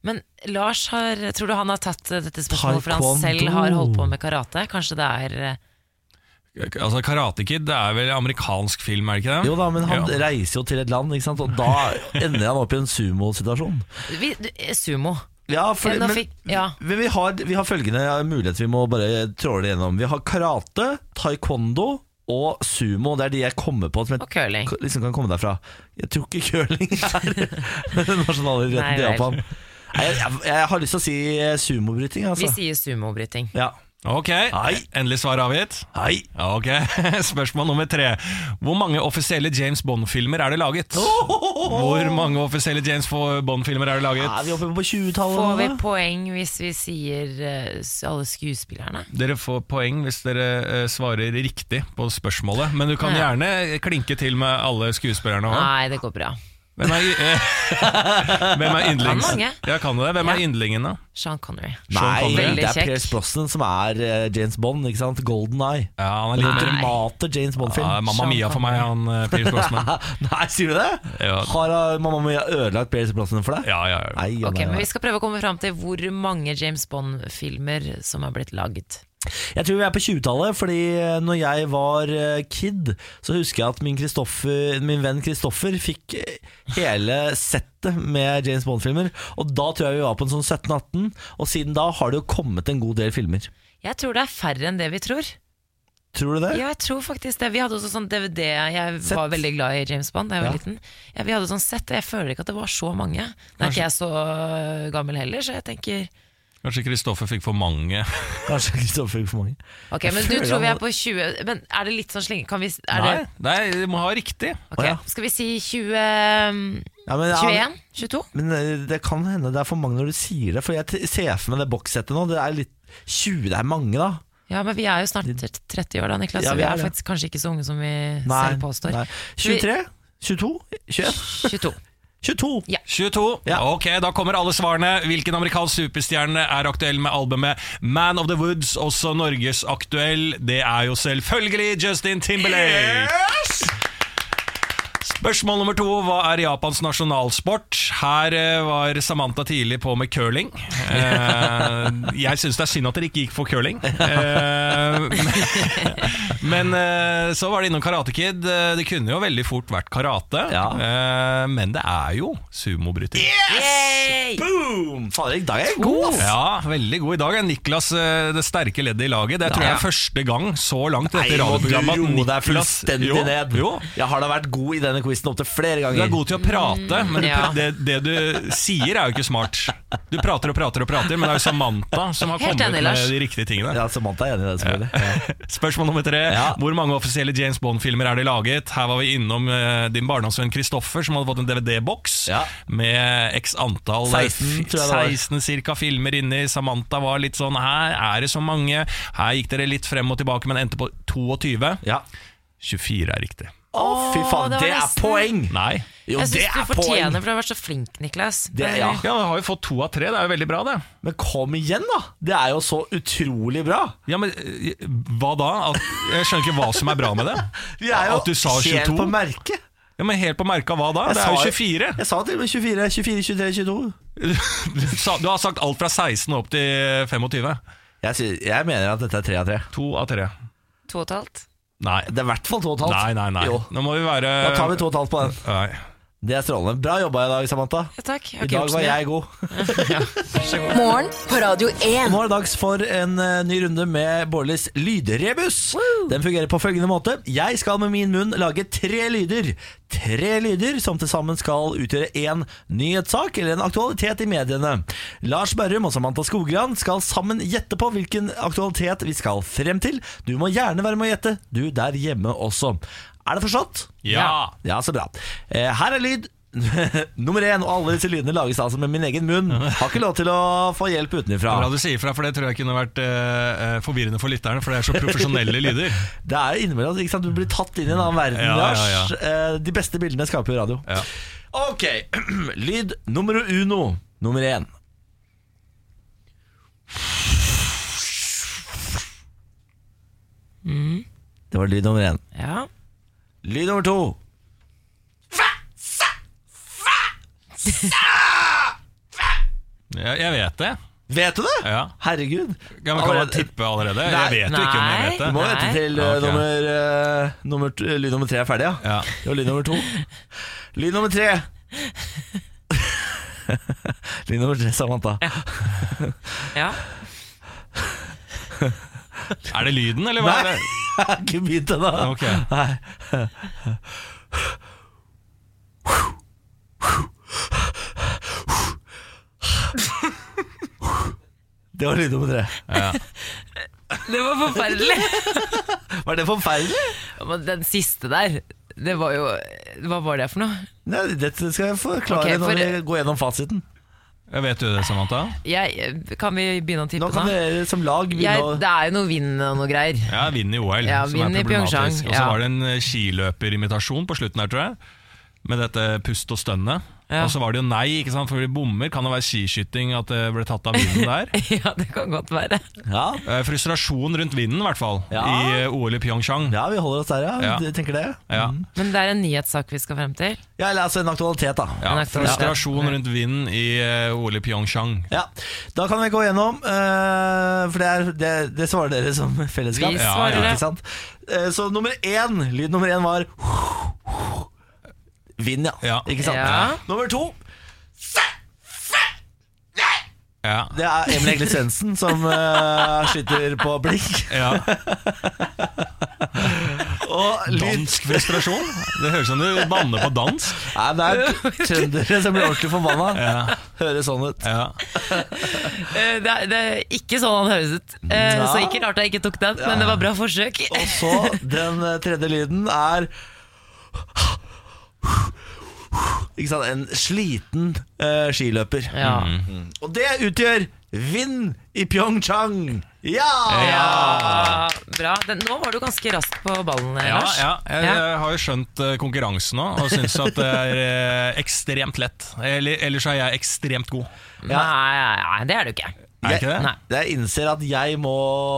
Speaker 3: Men Lars har Tror du han har tatt eh, dette spørsmålet for han
Speaker 2: Taekwondo.
Speaker 3: selv har holdt på med karate? Kanskje det er eh,
Speaker 1: Altså Karate Kid det er vel amerikansk film, er det ikke det?
Speaker 2: Jo da, men han
Speaker 1: Ja.
Speaker 2: reiser jo til et land, ikke sant? og da ender han opp i en sumosituasjon.
Speaker 3: vi, du, eh, Sumo.
Speaker 2: Ja, for,
Speaker 3: Ja, nå
Speaker 2: men,
Speaker 3: fikk- ja.
Speaker 2: men vi, har, vi har følgende muligheter vi må bare tråle gjennom. Vi har karate, taekwondo og sumo. Det er de jeg kommer på som jeg
Speaker 3: Og curling.
Speaker 2: k- liksom kan komme derfra. Jeg tror ikke curling er den nasjonale
Speaker 3: Nei
Speaker 2: retten til
Speaker 3: vel.
Speaker 2: Japan. Nei, Jeg, jeg, jeg har lyst til å si eh, sumobryting,
Speaker 3: Vi
Speaker 2: altså.
Speaker 3: sier sumobryting.
Speaker 2: Ja.
Speaker 1: Ok,
Speaker 2: Nei.
Speaker 1: endelig svar avgitt.
Speaker 2: Hei.
Speaker 1: Ja, Ok, Spørsmål nummer tre. Hvor mange offisielle James Bond-filmer er det laget?
Speaker 3: Oh!
Speaker 1: Hvor mange offisielle James Bond-filmer er det
Speaker 2: Er vi
Speaker 1: laget?
Speaker 2: oppe på
Speaker 3: Får vi
Speaker 2: 20-tallet? nå?
Speaker 3: poeng hvis vi sier eh, s- alle skuespillerne?
Speaker 1: Dere får poeng hvis dere eh, svarer riktig på spørsmålet. Men du kan
Speaker 3: Ja.
Speaker 1: gjerne klinke til med alle skuespillerne. også.
Speaker 3: Nei, det går bra.
Speaker 1: Hvem er, eh, hvem er yndlings?
Speaker 3: Kan mange.
Speaker 1: Ja, kan du det? Hvem er
Speaker 3: Ja.
Speaker 1: yndlingen, da?
Speaker 3: Sean Connery.
Speaker 1: Sean
Speaker 2: Nei,
Speaker 1: Connery.
Speaker 2: det
Speaker 3: Veldig
Speaker 2: er
Speaker 3: kjekk.
Speaker 2: Pierce Brosnan som er eh, James Bond, ikke sant? Golden Eye.
Speaker 1: Ja, han er
Speaker 2: Den
Speaker 1: litt
Speaker 3: Nei.
Speaker 2: ultimate James Bond-film.
Speaker 1: ja, Mamma Mia for meg, han eh, Pierce Brosnan.
Speaker 2: Nei, sier du det?
Speaker 1: Ja.
Speaker 2: Har uh, mamma mi ødelagt Pierce Brosnan for deg?
Speaker 1: Ja, ja, ja.
Speaker 2: Nei, ja,
Speaker 3: Ok,
Speaker 2: nei,
Speaker 3: men
Speaker 2: nei.
Speaker 3: Vi skal prøve å komme fram til hvor mange James Bond-filmer som er blitt laget.
Speaker 2: Jeg tror vi er på 20-tallet, fordi uh, når jeg var uh, kid, så husker jeg at min, Christoffer- min venn Kristoffer fikk uh, hele settet med James Bond-filmer. Og da tror jeg vi var på en sånn 17-18, og siden da har det jo kommet en god del filmer.
Speaker 3: Jeg tror det er færre enn det vi tror.
Speaker 2: Tror du det?
Speaker 3: Ja, jeg tror faktisk det. Vi hadde også sånn DVD Jeg
Speaker 2: Sett.
Speaker 3: var veldig glad i James Bond da jeg var
Speaker 2: Ja.
Speaker 3: liten. Ja, vi hadde sånn sett, og jeg føler ikke at det var så mange. Nå er ikke jeg så øh, gammel heller, så jeg tenker
Speaker 1: Kanskje Kristoffer fikk for mange.
Speaker 2: Kanskje Kristoffer fikk for mange.
Speaker 3: Ok,
Speaker 2: Jeg
Speaker 3: men du
Speaker 2: føler
Speaker 3: tror vi
Speaker 2: han-
Speaker 3: er på 20 Men er det litt sånn slenge? Kan vi er
Speaker 1: Nei,
Speaker 3: det,
Speaker 1: nei, du må ha riktig.
Speaker 3: ok,
Speaker 2: Å, ja.
Speaker 3: Skal vi si mm, 20
Speaker 2: Ja, men, ja,
Speaker 3: 21? 22?
Speaker 2: men uh, det kan hende det er for mange når du sier det, for jeg t- ser for meg det bokssettet nå. Det er litt 20, det er mange da.
Speaker 3: Ja, men vi er jo snart 30 år da, Niklas.
Speaker 2: Ja,
Speaker 3: så
Speaker 2: vi
Speaker 3: vi
Speaker 2: er
Speaker 3: er
Speaker 2: det.
Speaker 3: faktisk kanskje ikke så unge som vi
Speaker 2: Nei,
Speaker 3: selv påstår.
Speaker 2: nei. 23? 22? 21?
Speaker 3: 22.
Speaker 2: 22!
Speaker 1: 22.
Speaker 2: Ja.
Speaker 1: Ok, da kommer alle svarene. Hvilken amerikansk superstjerne er aktuell med albumet Man of the Woods, også Norges aktuell? Det er jo selvfølgelig Justin Timberlake! Spørsmål nummer to. Hva er Japans nasjonalsport? Her eh, var Samantha tidlig på med curling. Eh, jeg syns det er synd at dere ikke gikk for curling. Eh, men men, eh, så var det innom Karate Kid. Eh, Det kunne jo veldig fort vært karate,
Speaker 2: Ja.
Speaker 1: eh, men det er jo sumobryting.
Speaker 3: Yay!
Speaker 2: Boom! Fader, i dag er jeg god, ass!
Speaker 1: Ja, veldig god. I dag er Niklas eh, det sterke leddet i laget. Det tror jeg er første gang så langt i
Speaker 2: Nei,
Speaker 1: dette
Speaker 2: nå må du
Speaker 1: radioprogrammet at
Speaker 2: roe deg
Speaker 1: Niklas-
Speaker 2: fullstendig
Speaker 1: Jo,
Speaker 2: ned. Mm.
Speaker 1: Jo,
Speaker 2: Jeg har da vært god i denne quizen opptil flere
Speaker 1: Du
Speaker 2: ganger.
Speaker 1: er god til å prate, men du,
Speaker 3: ja.
Speaker 1: det, det du sier er jo ikke smart. Du prater og prater og prater, men det er jo Samantha som har
Speaker 3: Helt
Speaker 1: kommet
Speaker 3: enig, Lars.
Speaker 1: med de riktige tingene.
Speaker 2: Ja, Samantha er enig i det, selvfølgelig.
Speaker 1: Spørsmål nummer tre.
Speaker 2: Ja.
Speaker 1: Hvor mange offisielle James Bond-filmer er det laget? Her var vi innom eh, din barndomsvenn Kristoffer, som hadde fått en DVD-boks
Speaker 2: Ja.
Speaker 1: med x antall
Speaker 2: 16, tror jeg det var.
Speaker 1: 16 cirka filmer inni. Samantha var litt sånn Her er det så mange. Her gikk dere litt frem og tilbake, men endte på 22.
Speaker 2: Ja.
Speaker 1: 24 er riktig.
Speaker 2: Å, fy faen,
Speaker 3: det var
Speaker 2: det, er
Speaker 3: nesten-
Speaker 2: poeng!
Speaker 1: Nei.
Speaker 2: Jo,
Speaker 3: Jeg
Speaker 2: det
Speaker 3: syns du
Speaker 2: er
Speaker 3: fortjener,
Speaker 2: poeng!
Speaker 3: for du har vært så flink, Niklas.
Speaker 2: Det, ja.
Speaker 1: Ja, men Har jo fått to av tre. Det er jo veldig bra, det.
Speaker 2: Men kom igjen, da! Det er jo så utrolig bra!
Speaker 1: Ja, men eh, hva da? At, jeg skjønner ikke hva som er bra med det.
Speaker 2: Vi er jo
Speaker 1: At du sa
Speaker 2: helt
Speaker 1: 22?
Speaker 2: på merket.
Speaker 1: Ja, men Helt på merka hva da? Det er jo 24.
Speaker 2: Jeg sa til og med 24, 24, 23, 22.
Speaker 1: Du, sa, du har sagt alt fra 16 opp til 25.
Speaker 2: Jeg, sy- jeg mener at dette er tre av tre.
Speaker 1: To av tre.
Speaker 3: To og et halvt.
Speaker 1: Nei,
Speaker 2: Det er i hvert fall to og et halvt.
Speaker 1: nei, nei. nei.
Speaker 2: Jo.
Speaker 1: Nå må vi være
Speaker 2: Da tar vi to og et halvt på den.
Speaker 1: Nei.
Speaker 2: Det er strålende. Bra jobba i dag, Samantha.
Speaker 3: Ja, takk. Jeg
Speaker 2: I
Speaker 3: har ikke
Speaker 2: dag
Speaker 3: gjort så
Speaker 2: var jeg
Speaker 3: mye.
Speaker 2: god.
Speaker 4: Morgen på Radio 1.
Speaker 2: Nå er det dags for en eh, ny runde med Bårdlis lydrebus. Den fungerer på følgende måte. Jeg skal med min munn lage tre lyder. Tre lyder som til sammen skal utgjøre én nyhetssak eller en aktualitet i mediene. Lars Berrum og Samantha Skogran skal sammen gjette på hvilken aktualitet vi skal frem til. Du må gjerne være med å gjette, du der hjemme også. Er det forstått?
Speaker 1: Ja.
Speaker 2: Ja, så bra. Eh, her er lyd nummer én, og alle disse lydene lages altså med min egen munn. Har ikke lov til å få hjelp utenfra.
Speaker 1: Det er Bra du sier fra, for det tror jeg kunne vært eh, eh, forvirrende for lytterne, for det er så profesjonelle lyder.
Speaker 2: Det er jo innimellom ikke sant? Du blir tatt inn i en annen verden,
Speaker 1: Ja, ja,
Speaker 2: Lars.
Speaker 1: ja.
Speaker 2: Eh, De beste bildene skaper jo radio.
Speaker 1: Ja.
Speaker 2: Ok, lyd nummer uno. Nummer én. Det var lyd nummer én.
Speaker 3: Ja.
Speaker 2: Lyd nummer to.
Speaker 1: Jeg, jeg vet det.
Speaker 2: Vet du det?
Speaker 1: Ja.
Speaker 2: Herregud.
Speaker 1: Ja, men kan man
Speaker 2: Allerede-
Speaker 1: tippe allerede?
Speaker 2: Nei.
Speaker 1: Jeg vet jo ikke om jeg vet
Speaker 2: Du
Speaker 1: det.
Speaker 2: må vente
Speaker 3: Nei.
Speaker 2: til
Speaker 1: Ja, ok.
Speaker 2: eh, nummer, eh, nummer, t- lyd nummer tre er ferdig, ja.
Speaker 1: Ja.
Speaker 2: Det var lyd nummer to. Lyd nummer tre. lyd nummer tre, Samantha.
Speaker 3: ja.
Speaker 1: Er det lyden, eller hva?
Speaker 2: Nei,
Speaker 1: er det?
Speaker 2: jeg har ikke begynt ennå.
Speaker 1: Ok.
Speaker 2: Nei. Det var lyd nummer tre.
Speaker 3: Det var forferdelig.
Speaker 2: Var det forferdelig?
Speaker 3: Men den siste der, det var jo Hva var det for noe?
Speaker 2: Nei, dette skal jeg forklare
Speaker 3: Ok, for-
Speaker 2: når vi går gjennom fasiten.
Speaker 1: Jeg vet du det, Samantha?
Speaker 3: Jeg, kan vi begynne å tippe
Speaker 2: Nå
Speaker 3: nå?
Speaker 2: kan dere som lag
Speaker 3: Jeg,
Speaker 2: begynne å
Speaker 3: det er jo noe vind og noe greier.
Speaker 1: Ja, vinn i OL,
Speaker 3: Ja,
Speaker 1: som
Speaker 3: vinn i
Speaker 1: er problematisk.
Speaker 3: Pyeongchang,
Speaker 1: Og så
Speaker 3: ja.
Speaker 1: var det en eh, skiløperimitasjon på slutten her, tror jeg. Med dette pust og stønnet.
Speaker 3: Ja.
Speaker 1: Og så var det jo nei, ikke sant, for de bommer. Kan det være skiskyting at det ble tatt av vinden der?
Speaker 3: Ja, det kan godt være.
Speaker 2: Ja,
Speaker 1: Eh, Frustrasjon rundt vinden, i hvert fall,
Speaker 2: Ja.
Speaker 1: i eh, OL i Pyeongchang.
Speaker 2: Ja, vi holder oss der, ja.
Speaker 1: Ja.
Speaker 2: Du tenker det? Mm.
Speaker 1: Ja.
Speaker 3: Men det er en nyhetssak vi skal frem til.
Speaker 2: Ja, eller altså en aktualitet, da.
Speaker 1: Ja,
Speaker 3: Men akkurat-
Speaker 1: frustrasjon rundt vinden i eh, OL i Pyeongchang.
Speaker 2: Ja. Da kan vi gå gjennom, eh, for det, er, det, det svarer dere som fellesskap.
Speaker 3: Vi
Speaker 1: Ja, svarer.
Speaker 2: Ikke sant? Eh, så nummer én, lyd nummer én var Vind, ja.
Speaker 1: Ja.
Speaker 2: Ikke sant?
Speaker 3: Ja.
Speaker 2: Nummer to,
Speaker 1: Ja.
Speaker 2: det er Emil Egle Svendsen som eh, skyter på blink.
Speaker 1: ja.
Speaker 2: Og lyd
Speaker 1: Dansk frustrasjon? Det høres ut som du banner på dansk.
Speaker 2: Nei, det er trøndere som blir ordentlig forbanna.
Speaker 1: Ja.
Speaker 2: Høres sånn ut.
Speaker 1: Ja.
Speaker 3: Eh, Det er, det er ikke sånn han høres ut. Eh,
Speaker 2: Ja.
Speaker 3: Så ikke rart jeg ikke tok den, men det var bra forsøk.
Speaker 2: Og så den eh, tredje lyden er Ikke sant, en sliten eh, skiløper
Speaker 3: Ja.
Speaker 2: mm. Og det utgjør vind i Pyeongchang Ja!
Speaker 3: Ja, bra. Den, nå var du ganske rask på ballen, eh,
Speaker 1: Ja,
Speaker 3: Lars.
Speaker 1: ja. Jeg,
Speaker 3: Ja.
Speaker 1: jeg har jo skjønt eh, konkurransen nå, og syns at det er eh, ekstremt lett. Eller, ellers er jeg ekstremt god.
Speaker 3: Nei, nei, nei, det er du ikke.
Speaker 1: Er jeg ikke det?
Speaker 3: Nei.
Speaker 2: Jeg innser at jeg må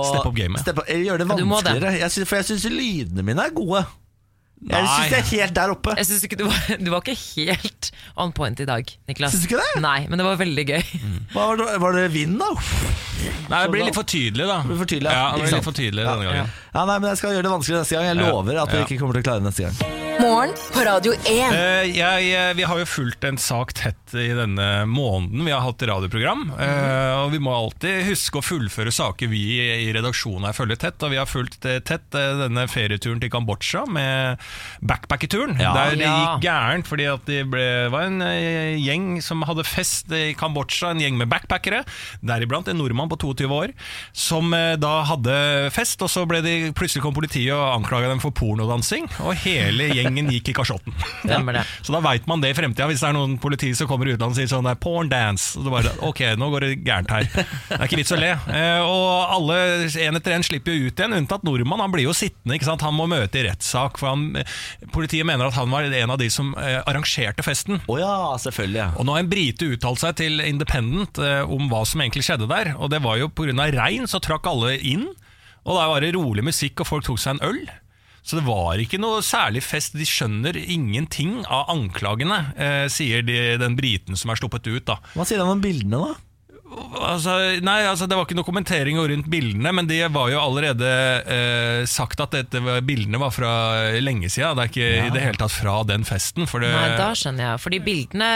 Speaker 1: Steppe opp gamet.
Speaker 2: steppe, eller Gjøre det
Speaker 3: Du må det.
Speaker 2: vanskeligere jeg synes, For jeg synes lydene mine er gode Jeg
Speaker 1: Nei.
Speaker 2: synes det er helt der oppe
Speaker 3: Jeg synes ikke du, var, du var ikke helt on point i dag, Niklas.
Speaker 2: Synes du ikke det?
Speaker 3: Nei, men det var veldig gøy.
Speaker 2: Hva var, det, var det vind da?
Speaker 1: Nei, det blir litt for tydelig, da.
Speaker 2: blir for tydelig,
Speaker 1: ja,
Speaker 2: ikke
Speaker 1: det blir
Speaker 2: sant?
Speaker 1: litt for tydelig denne gangen.
Speaker 2: Ja, nei, men jeg skal gjøre det vanskelig neste gang Jeg
Speaker 1: Ja.
Speaker 2: lover at jeg
Speaker 1: Ja.
Speaker 2: ikke kommer til å klare det neste gang
Speaker 4: Morgen på Radio 1.
Speaker 1: Eh, jeg, eh, vi har jo fulgt en sak tett i denne måneden. Vi har hatt radioprogram. eh, og vi må alltid huske å fullføre saker vi i redaksjonen her følger tett. Og vi har fulgt eh, tett eh, denne ferieturen til Kambodsja med backpacketuren. Der det
Speaker 3: Ja.
Speaker 1: gikk gærent fordi at det ble, var en eh, gjeng som hadde fest i Kambodsja. En gjeng med backpackere, deriblant en nordmann på 22 år, som eh, da hadde fest. Og så ble de, plutselig kom politiet og anklaga dem for pornodansing, og hele gjengen gikk i kasjotten.
Speaker 3: Stemmer det.
Speaker 1: Så da veit man det i fremtida, hvis det er noen politi som kommer i utlandet og sier sånn det er porn dance. Og du bare, ok, nå går det gærent her. Det er ikke vits å le. Eh, og alle en etter en slipper jo ut igjen, unntatt nordmann. Han blir jo sittende. ikke sant? Han må møte i rettssak. For han, eh, politiet mener at han var en av de som eh, arrangerte festen.
Speaker 2: Å ja, selvfølgelig. ja.
Speaker 1: Og nå har en brite uttalt seg til Independent eh, om hva som egentlig skjedde der. Og det var jo pga. regn, så trakk alle inn. Og da var det rolig musikk, og folk tok seg en øl. Så det var ikke noe særlig fest. De skjønner ingenting av anklagene, eh, sier de, den briten som er sluppet ut. da.
Speaker 2: Hva sier han om bildene, da?
Speaker 1: Altså, nei, altså Det var ikke noe kommentering rundt bildene, men det var jo allerede eh, sagt at dette, var- bildene var fra lenge siden. Det er ikke i det hele tatt fra den festen. For det,
Speaker 3: Nei, da skjønner jeg. Fordi bildene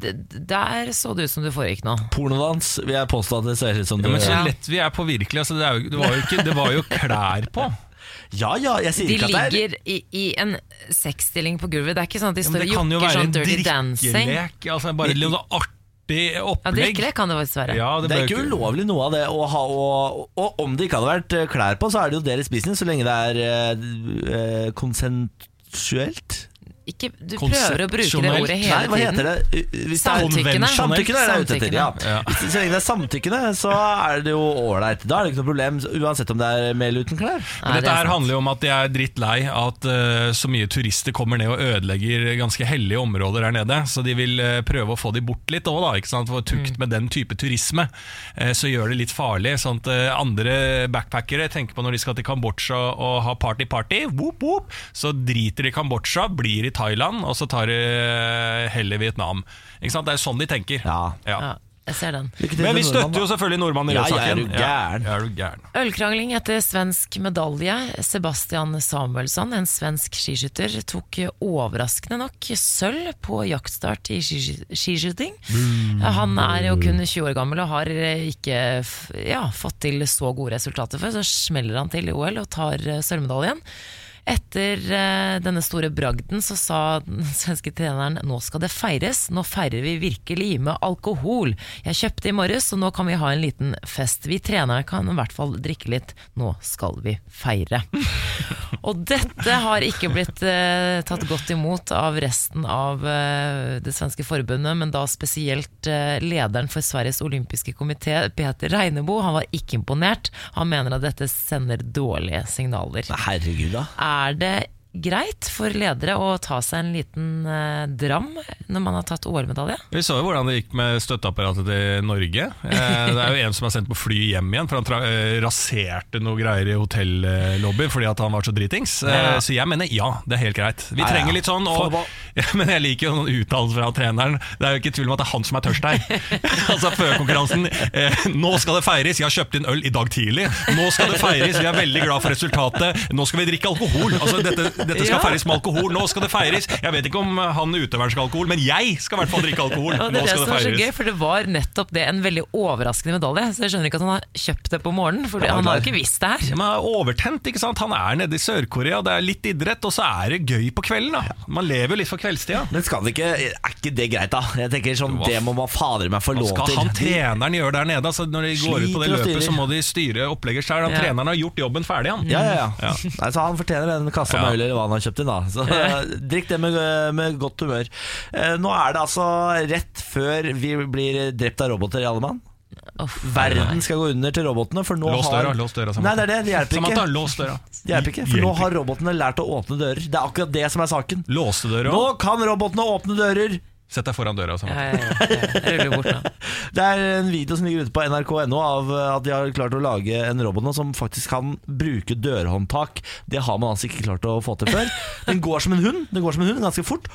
Speaker 3: d- d- Der så det ut som det foregikk nå.
Speaker 2: Pornodans vil jeg påstå at det ser ut som
Speaker 1: Ja, men så
Speaker 2: ja.
Speaker 3: Ja.
Speaker 1: lett vi er på virkelig. Altså, det, er jo, det, var jo ikke, det var jo klær på.
Speaker 2: ja ja, jeg sier
Speaker 3: De
Speaker 2: ikke at det er
Speaker 3: ligger i, i en sexstilling på gulvet. Det er ikke sånn at de
Speaker 1: Ja, men
Speaker 3: står
Speaker 1: det
Speaker 3: og
Speaker 1: kan jo
Speaker 3: jokker
Speaker 1: være
Speaker 3: sånn
Speaker 1: en
Speaker 3: dirty dancing.
Speaker 1: drikkelek. Altså, bare litt sånn artig
Speaker 3: Ja,
Speaker 1: opplegg.
Speaker 3: drikkelek kan det faktisk være.
Speaker 1: Ja,
Speaker 2: det
Speaker 1: ble
Speaker 2: er ikke
Speaker 1: jo
Speaker 2: ulovlig noe av det å ha Og, og om det ikke hadde vært eh, klær på, så er det jo deres business, så lenge det er eh, eh, konsensuelt.
Speaker 3: Ikke, du prøver å bruke det ordet hele
Speaker 2: Nei, hva
Speaker 3: tiden.
Speaker 2: heter det? Hvis det er-
Speaker 3: Samtykkende.
Speaker 2: Samtykkende er det jeg er ute etter, ja.
Speaker 1: Ja.
Speaker 2: Hvis- Så lenge det er samtykkende, så er det jo ålreit. Da er det ikke noe problem, uansett om det er med eller uten klær.
Speaker 3: Nei, det
Speaker 1: Men
Speaker 3: er
Speaker 1: dette her
Speaker 3: sant.
Speaker 1: handler jo om at de er drittlei at eh, så mye turister kommer ned og ødelegger ganske hellige områder her nede. Så de vil eh, prøve å få de bort litt òg, da. Ikke sant? For
Speaker 3: Mm.
Speaker 1: tukt med den type turisme. eh, så gjør det litt farlig. Sånn at eh, andre backpackere tenker på når de skal til Kambodsja og ha party-party, whoop, whoop, så driter de i Kambodsja, blir i Thailand, og så tar de eh, heller Vietnam. Ikke sant? Det er sånn de tenker.
Speaker 2: Ja.
Speaker 3: Ja, jeg ser den.
Speaker 2: Lykke til
Speaker 1: Men vi
Speaker 2: til nordmannen,
Speaker 1: støtter jo
Speaker 2: da.
Speaker 1: selvfølgelig nordmannen i
Speaker 2: Ja, ja, er
Speaker 1: rettssaken.
Speaker 2: du gæren?
Speaker 1: Ja, er du gæren.
Speaker 3: Ølkrangling etter svensk medalje. Sebastian Samuelsson, en svensk skiskytter, tok overraskende nok sølv på jaktstart i skisky- skiskyting. Han er jo kun 20 år gammel og har ikke f- ja, fått til så gode resultater før. Så smeller han til i OL og tar eh, sølvmedaljen. Etter eh, denne store bragden så sa den svenske treneren nå skal det feires, nå feirer vi virkelig med alkohol. Jeg kjøpte i morges, og nå kan vi ha en liten fest. Vi trenere kan i hvert fall drikke litt, nå skal vi feire. og dette har ikke blitt eh, tatt godt imot av resten av eh, det svenske forbundet, men da spesielt eh, lederen for Sveriges olympiske komité, Peter Reinebo, han var ikke imponert. Han mener at dette sender dårlige signaler.
Speaker 2: Herregud, da.
Speaker 3: Er det greit for ledere å ta seg en liten eh, dram når man har tatt OL-medalje?
Speaker 1: Vi så jo hvordan det gikk med støtteapparatet til Norge. Eh, Det er jo en som er sendt på fly hjem igjen, for han tra- eh, raserte noe greier i hotellobbyen fordi at han var så dritings. Eh, Så jeg mener ja, det er helt greit. Vi
Speaker 2: Ja, ja.
Speaker 1: trenger litt sånn,
Speaker 2: Få
Speaker 1: og,
Speaker 2: på.
Speaker 1: ja, men jeg liker jo noen uttalelser fra treneren. Det er jo ikke tvil om at det er han som er tørst her. Altså før konkurransen. Eh, Nå skal det feires, jeg har kjøpt inn øl i dag tidlig. Nå skal det feires, vi er veldig glad for resultatet. Nå skal vi drikke alkohol. Altså dette, dette skal
Speaker 3: Ja.
Speaker 1: feires med alkohol, nå skal det feires. Jeg vet ikke om eh, han utøveren skal ha alkohol, men jeg skal i hvert fall drikke alkohol.
Speaker 3: Ja, det er det som er så gøy, for det var nettopp det, en veldig overraskende medalje. Så jeg skjønner ikke at han har kjøpt det på morgenen, for han har jo ikke visst det her.
Speaker 1: Ja, men han er overtent, ikke sant? Han er nede i Sør-Korea, det er litt idrett, og så er det gøy på kvelden. da Man lever jo litt for kveldstida.
Speaker 2: Men skal det ikke, er ikke det greit, da? Jeg tenker sånn, Det må man fader meg få
Speaker 1: Hva
Speaker 2: lov
Speaker 1: skal
Speaker 2: til.
Speaker 1: han treneren gjøre der nede? Altså, når de går ut på det
Speaker 2: Sliter og
Speaker 1: løpet,
Speaker 2: styrer.
Speaker 1: så må de styre opplegget sjøl.
Speaker 3: Ja.
Speaker 1: Treneren har gjort jobben ferdig, han.
Speaker 2: Ja, ja, ja. Nei, så han fortjener den kassa med øl eller hva han har kjøpt inn, da. Så eh, drikk det med, med godt humør. Eh, Nå er det altså rett før vi blir drept av roboter, alle mann.
Speaker 3: Uff.
Speaker 2: Verden skal gå under til robotene, for nå
Speaker 1: Lås døra,
Speaker 2: har
Speaker 1: lås døra.
Speaker 2: Nei, det er det. Det hjelper
Speaker 1: Samantha,
Speaker 2: ikke.
Speaker 1: lås døra.
Speaker 2: Det hjelper ikke, For nå har robotene lært å åpne dører. Det er akkurat det som er saken.
Speaker 1: Låste døra.
Speaker 2: Nå kan robotene åpne dører!
Speaker 1: Sett deg foran døra. altså. Samantha.
Speaker 3: Ja, ja, ja, ja. Jeg ruller bort nå.
Speaker 2: Det er en video som ligger ute på nrk.no av eh, at de har klart å lage en robot nå som faktisk kan bruke dørhåndtak. Det har man altså ikke klart å få til før. Den går som en hund, den går som en hund ganske fort.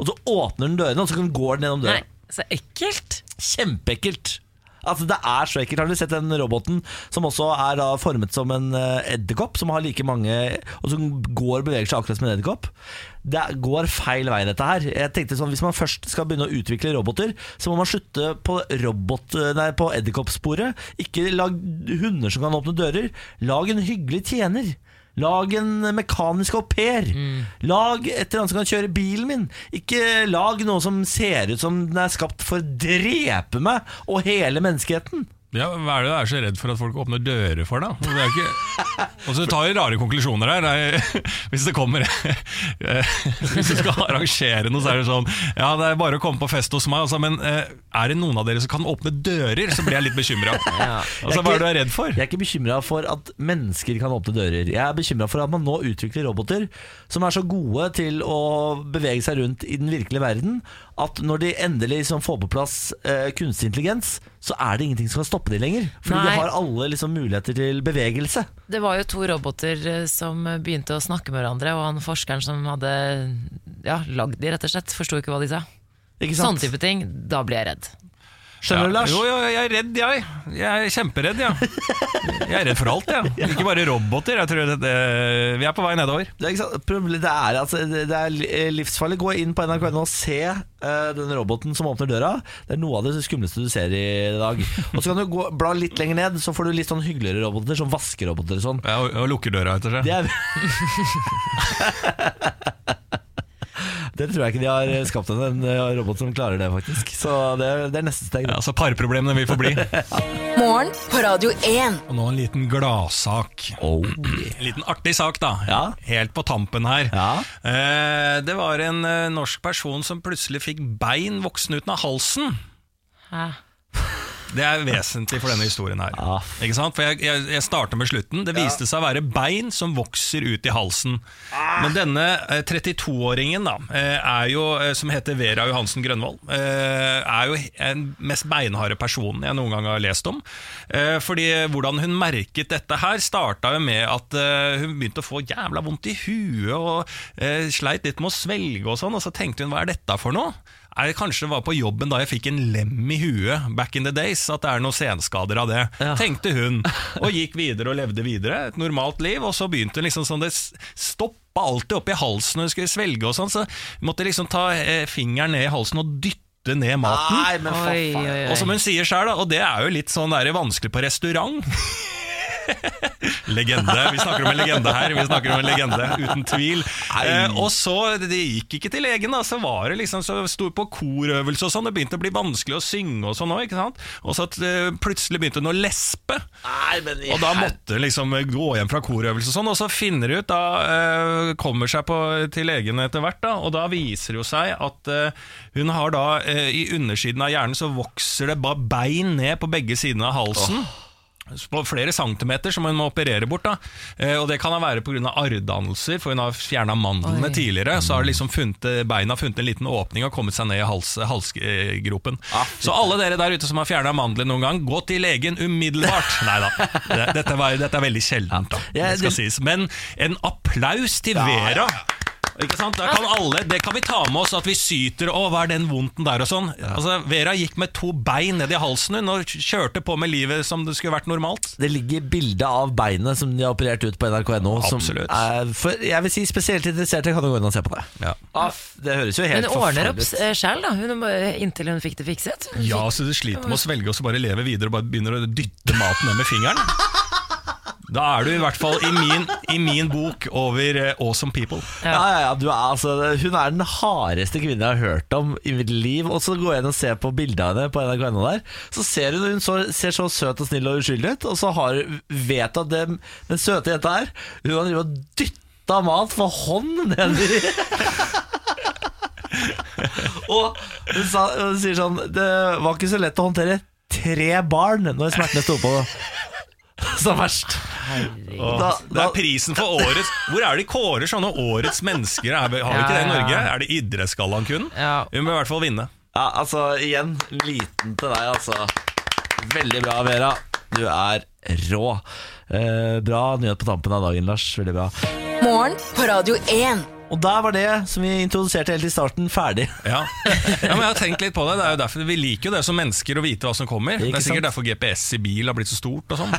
Speaker 2: Og så åpner den dørene, og så kan den gå den gjennom
Speaker 3: Nei,
Speaker 2: døra.
Speaker 3: så ekkelt.
Speaker 2: Kjempeekkelt. Altså, det er så ekkelt. Har dere sett den roboten som også er da formet som en eh, edderkopp, som har like mange Og som går og beveger seg akkurat som en edderkopp? Det går feil vei, dette her. Jeg tenkte sånn, Hvis man først skal begynne å utvikle roboter, så må man slutte på, robot, eh, nei, på edderkoppsporet. Ikke lag hunder som kan åpne dører. Lag en hyggelig tjener. Lag en mekanisk au pair. Lag et eller annet som kan kjøre bilen min. Ikke lag noe som ser ut som den er skapt for å drepe meg og hele menneskeheten.
Speaker 1: Ja, Hva er det du er så redd for at folk åpner dører for, da? Det er jo ikke... Og så tar vi rare konklusjoner her. Nei, hvis det kommer eh, Hvis du skal arrangere noe, så er det sånn Ja, det er bare å komme på fest hos meg, altså, men eh, er det noen av dere som kan åpne dører, så blir jeg litt bekymra. Altså, hva er det du er redd for?
Speaker 2: Jeg er ikke bekymra for at mennesker kan åpne dører. Jeg er bekymra for at man nå utvikler roboter som er så gode til å bevege seg rundt i den virkelige verden at når de endelig liksom får på plass eh, kunstig intelligens, så er det ingenting som kan stoppe dem lenger. Fordi
Speaker 3: Nei.
Speaker 2: de har alle liksom muligheter til bevegelse.
Speaker 3: Det var jo to roboter eh, som begynte å snakke med hverandre, og han forskeren som hadde ja, lagd de, rett og slett, forsto ikke hva de sa.
Speaker 2: Ikke
Speaker 3: Sånn
Speaker 2: sant?
Speaker 3: type ting, da blir jeg redd.
Speaker 2: Skjønner du, Lars?
Speaker 1: Jo, jo, jeg er redd, jeg. Jeg er kjemperedd, jeg. Jeg er redd for alt, jeg. Ikke bare roboter. Jeg tror det, det, vi er på vei nedover.
Speaker 2: Det er, ikke sant? Problemet- det er, altså, det det er li- livsfarlig. Gå inn på nrk.no og se eh, den roboten som åpner døra. Det er noe av det skumleste du ser i dag. Og så kan du gå, bla litt lenger ned, så får du litt sånn hyggeligere roboter, som vaskeroboter og sånn.
Speaker 1: Ja, og, og lukker døra etter seg.
Speaker 2: Det er Det tror jeg ikke de har skapt en, en robot som klarer det, faktisk. Så det, er- det er neste steg.
Speaker 1: Ja,
Speaker 2: da.
Speaker 1: altså Parproblemene vil få bli.
Speaker 4: Morgen på Radio 1.
Speaker 1: Og nå en liten gladsak.
Speaker 2: Oh, yeah.
Speaker 1: En liten artig sak, da.
Speaker 2: Ja.
Speaker 1: Helt på tampen her.
Speaker 2: Ja.
Speaker 1: Eh, det var en eh, norsk person som plutselig fikk bein voksende ut av halsen.
Speaker 3: Hæ?
Speaker 1: Det er vesentlig for denne historien her.
Speaker 2: Ja.
Speaker 1: Ikke sant? For jeg, jeg, jeg starter med slutten. Det viste seg å være bein som vokser ut i halsen. Men denne eh, 32-åringen, da, eh, er jo, eh, som heter Vera Johansen Grønvold, eh, er jo den mest beinharde personen jeg noen gang har lest om. Eh, Fordi hvordan hun merket dette her, starta jo med at eh, hun begynte å få jævla vondt i huet og eh, sleit litt med å svelge og sånn, og så tenkte hun hva er dette for noe? Nei, Kanskje det var på jobben da jeg fikk en lem i huet back in the days, at det er noen senskader av det, tenkte hun. Og gikk videre og levde videre, et normalt liv, og så begynte hun liksom sånn det s- stoppa alltid opp i halsen når hun skulle svelge og sånn, så måtte liksom ta eh, fingeren ned i halsen og dytte ned maten.
Speaker 2: Nei, men for
Speaker 3: Oi,
Speaker 2: faen.
Speaker 3: oi,
Speaker 1: Og som
Speaker 3: oi.
Speaker 1: hun sier sjøl, og det er jo litt sånn der, vanskelig på restaurant. Legende. Vi snakker om en legende her, vi snakker om en legende, uten tvil. Eh, og så, Det gikk ikke til legen, da. Så var det liksom så sto på korøvelse og sånn. Det begynte å bli vanskelig å synge og sånn òg, ikke sant. Og så at, eh, plutselig begynte hun å lespe.
Speaker 2: Nei, men i
Speaker 1: Og da
Speaker 2: her-
Speaker 1: måtte hun liksom gå hjem fra korøvelse og sånn, og så finner hun ut, da eh, kommer seg på, til legen etter hvert, da, og da viser det jo seg at eh, hun har da, eh, i undersiden av hjernen så vokser det bare bein ned på begge sidene av halsen. På flere centimeter som hun må operere bort. Da. Eh, og Det kan da være pga. arrdannelser, for hun har fjerna mandlene
Speaker 3: Oi.
Speaker 1: tidligere. Så
Speaker 2: Mm.
Speaker 1: har det liksom funnet, beina har funnet en liten åpning og kommet seg ned i hals, halsgropen.
Speaker 2: Ah,
Speaker 1: så alle dere der ute som har fjerna mandlene noen gang, gå til legen umiddelbart! Nei da, det, dette, var, dette er veldig sjeldent, da.
Speaker 2: Ja,
Speaker 1: Det skal
Speaker 2: det-
Speaker 1: sies. Men en applaus til
Speaker 2: Ja,
Speaker 1: Vera!
Speaker 2: ja,
Speaker 1: Ikke sant? Der kan alle, det kan vi ta med oss, at vi syter og hva er den vondten der og sånn. Altså, Vera gikk med to bein ned i halsen hun og kjørte på med livet som det skulle vært normalt.
Speaker 2: Det ligger bilde av beinet som de har operert ut på nrk.no. som
Speaker 1: Absolutt.
Speaker 2: er- For jeg vil si spesielt interesserte kan jo gå inn og se på det.
Speaker 1: Ja.
Speaker 2: Aff, det høres jo helt
Speaker 3: Hun Ah. ordner opp
Speaker 2: forferdelig ut.
Speaker 3: eh, sjæl, da, hun, må- inntil hun fikk det fikset. Hun
Speaker 1: Ja, så du sliter med å svelge og så bare leve videre og bare begynner å dytte maten ned med fingeren. Da er du i hvert fall i min, i min bok over eh, awesome people.
Speaker 2: Ja, ja, ja, du er, altså, Hun er den hardeste kvinnen jeg har hørt om i mitt liv. Og så går jeg inn og ser på bildet av henne på nrk.no der. Så ser hun hun så, ser så søt og snill og uskyldig ut, og så har, vet at det, den søte jenta her Hun har drevet og dytta mat for hånd ned i Og hun, sa, hun sier sånn Det var ikke så lett å håndtere tre barn når smertene sto på som verst. Da-
Speaker 1: det
Speaker 2: da-
Speaker 1: er prisen for årets Hvor er det de kårer sånne årets mennesker? Er vi- Har vi ikke det i
Speaker 3: Ja, ja,
Speaker 1: Norge?
Speaker 3: ja.
Speaker 1: Er det Idrettsgallaen kun?
Speaker 3: Ja.
Speaker 1: Hun bør i hvert fall vinne.
Speaker 2: Ja, altså, igjen, liten til deg, altså. Veldig bra, Vera. Du er rå. Eh, bra nyhet på tampen av dagen, Lars. Veldig bra.
Speaker 4: Morgen på Radio 1.
Speaker 2: Og der var det som vi introduserte helt i starten, ferdig.
Speaker 1: Ja. ja, men jeg har tenkt litt på det. det er jo derfor, vi liker jo det som mennesker å vite hva som kommer.
Speaker 2: Ikke
Speaker 1: det er sikkert
Speaker 2: sant?
Speaker 1: derfor GPS i bil har blitt så stort og sånn.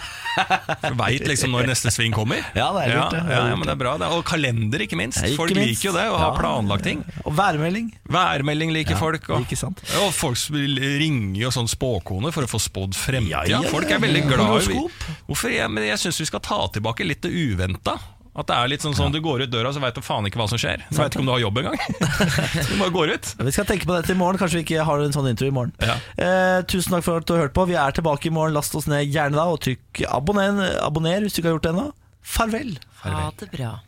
Speaker 1: For Veit liksom når neste sving kommer.
Speaker 2: Ja, det er lurt,
Speaker 1: ja,
Speaker 2: det.
Speaker 1: ja, ja, men det er bra. det. Og kalender, ikke minst.
Speaker 2: Ja, ikke
Speaker 1: Folk
Speaker 2: minst.
Speaker 1: liker jo det, å ha
Speaker 2: Ja.
Speaker 1: planlagt ting.
Speaker 2: Og værmelding.
Speaker 1: Værmelding liker folk. Og,
Speaker 2: ikke sant.
Speaker 1: og folk som ringer jo sånn spåkone for å få spådd fremtida.
Speaker 2: Ja, ja, ja,
Speaker 1: Folk er veldig
Speaker 2: ja.
Speaker 1: glad i
Speaker 2: Horoskop.
Speaker 1: Hvorfor? Jeg, men jeg syns vi skal ta tilbake litt det uventa. At det er litt sånn sånn du går ut døra, så veit du faen ikke hva som skjer. Du veit ikke om du har jobb engang. du bare går ut.
Speaker 2: Vi skal tenke på dette i morgen. Kanskje vi ikke har en sånn intro i morgen.
Speaker 1: Ja.
Speaker 2: Eh, tusen takk for at du har hørt på. Vi er tilbake i morgen. Last oss ned gjerne da, og trykk abonner, abonner hvis du ikke har gjort det ennå. Farvel.
Speaker 3: Ha det bra.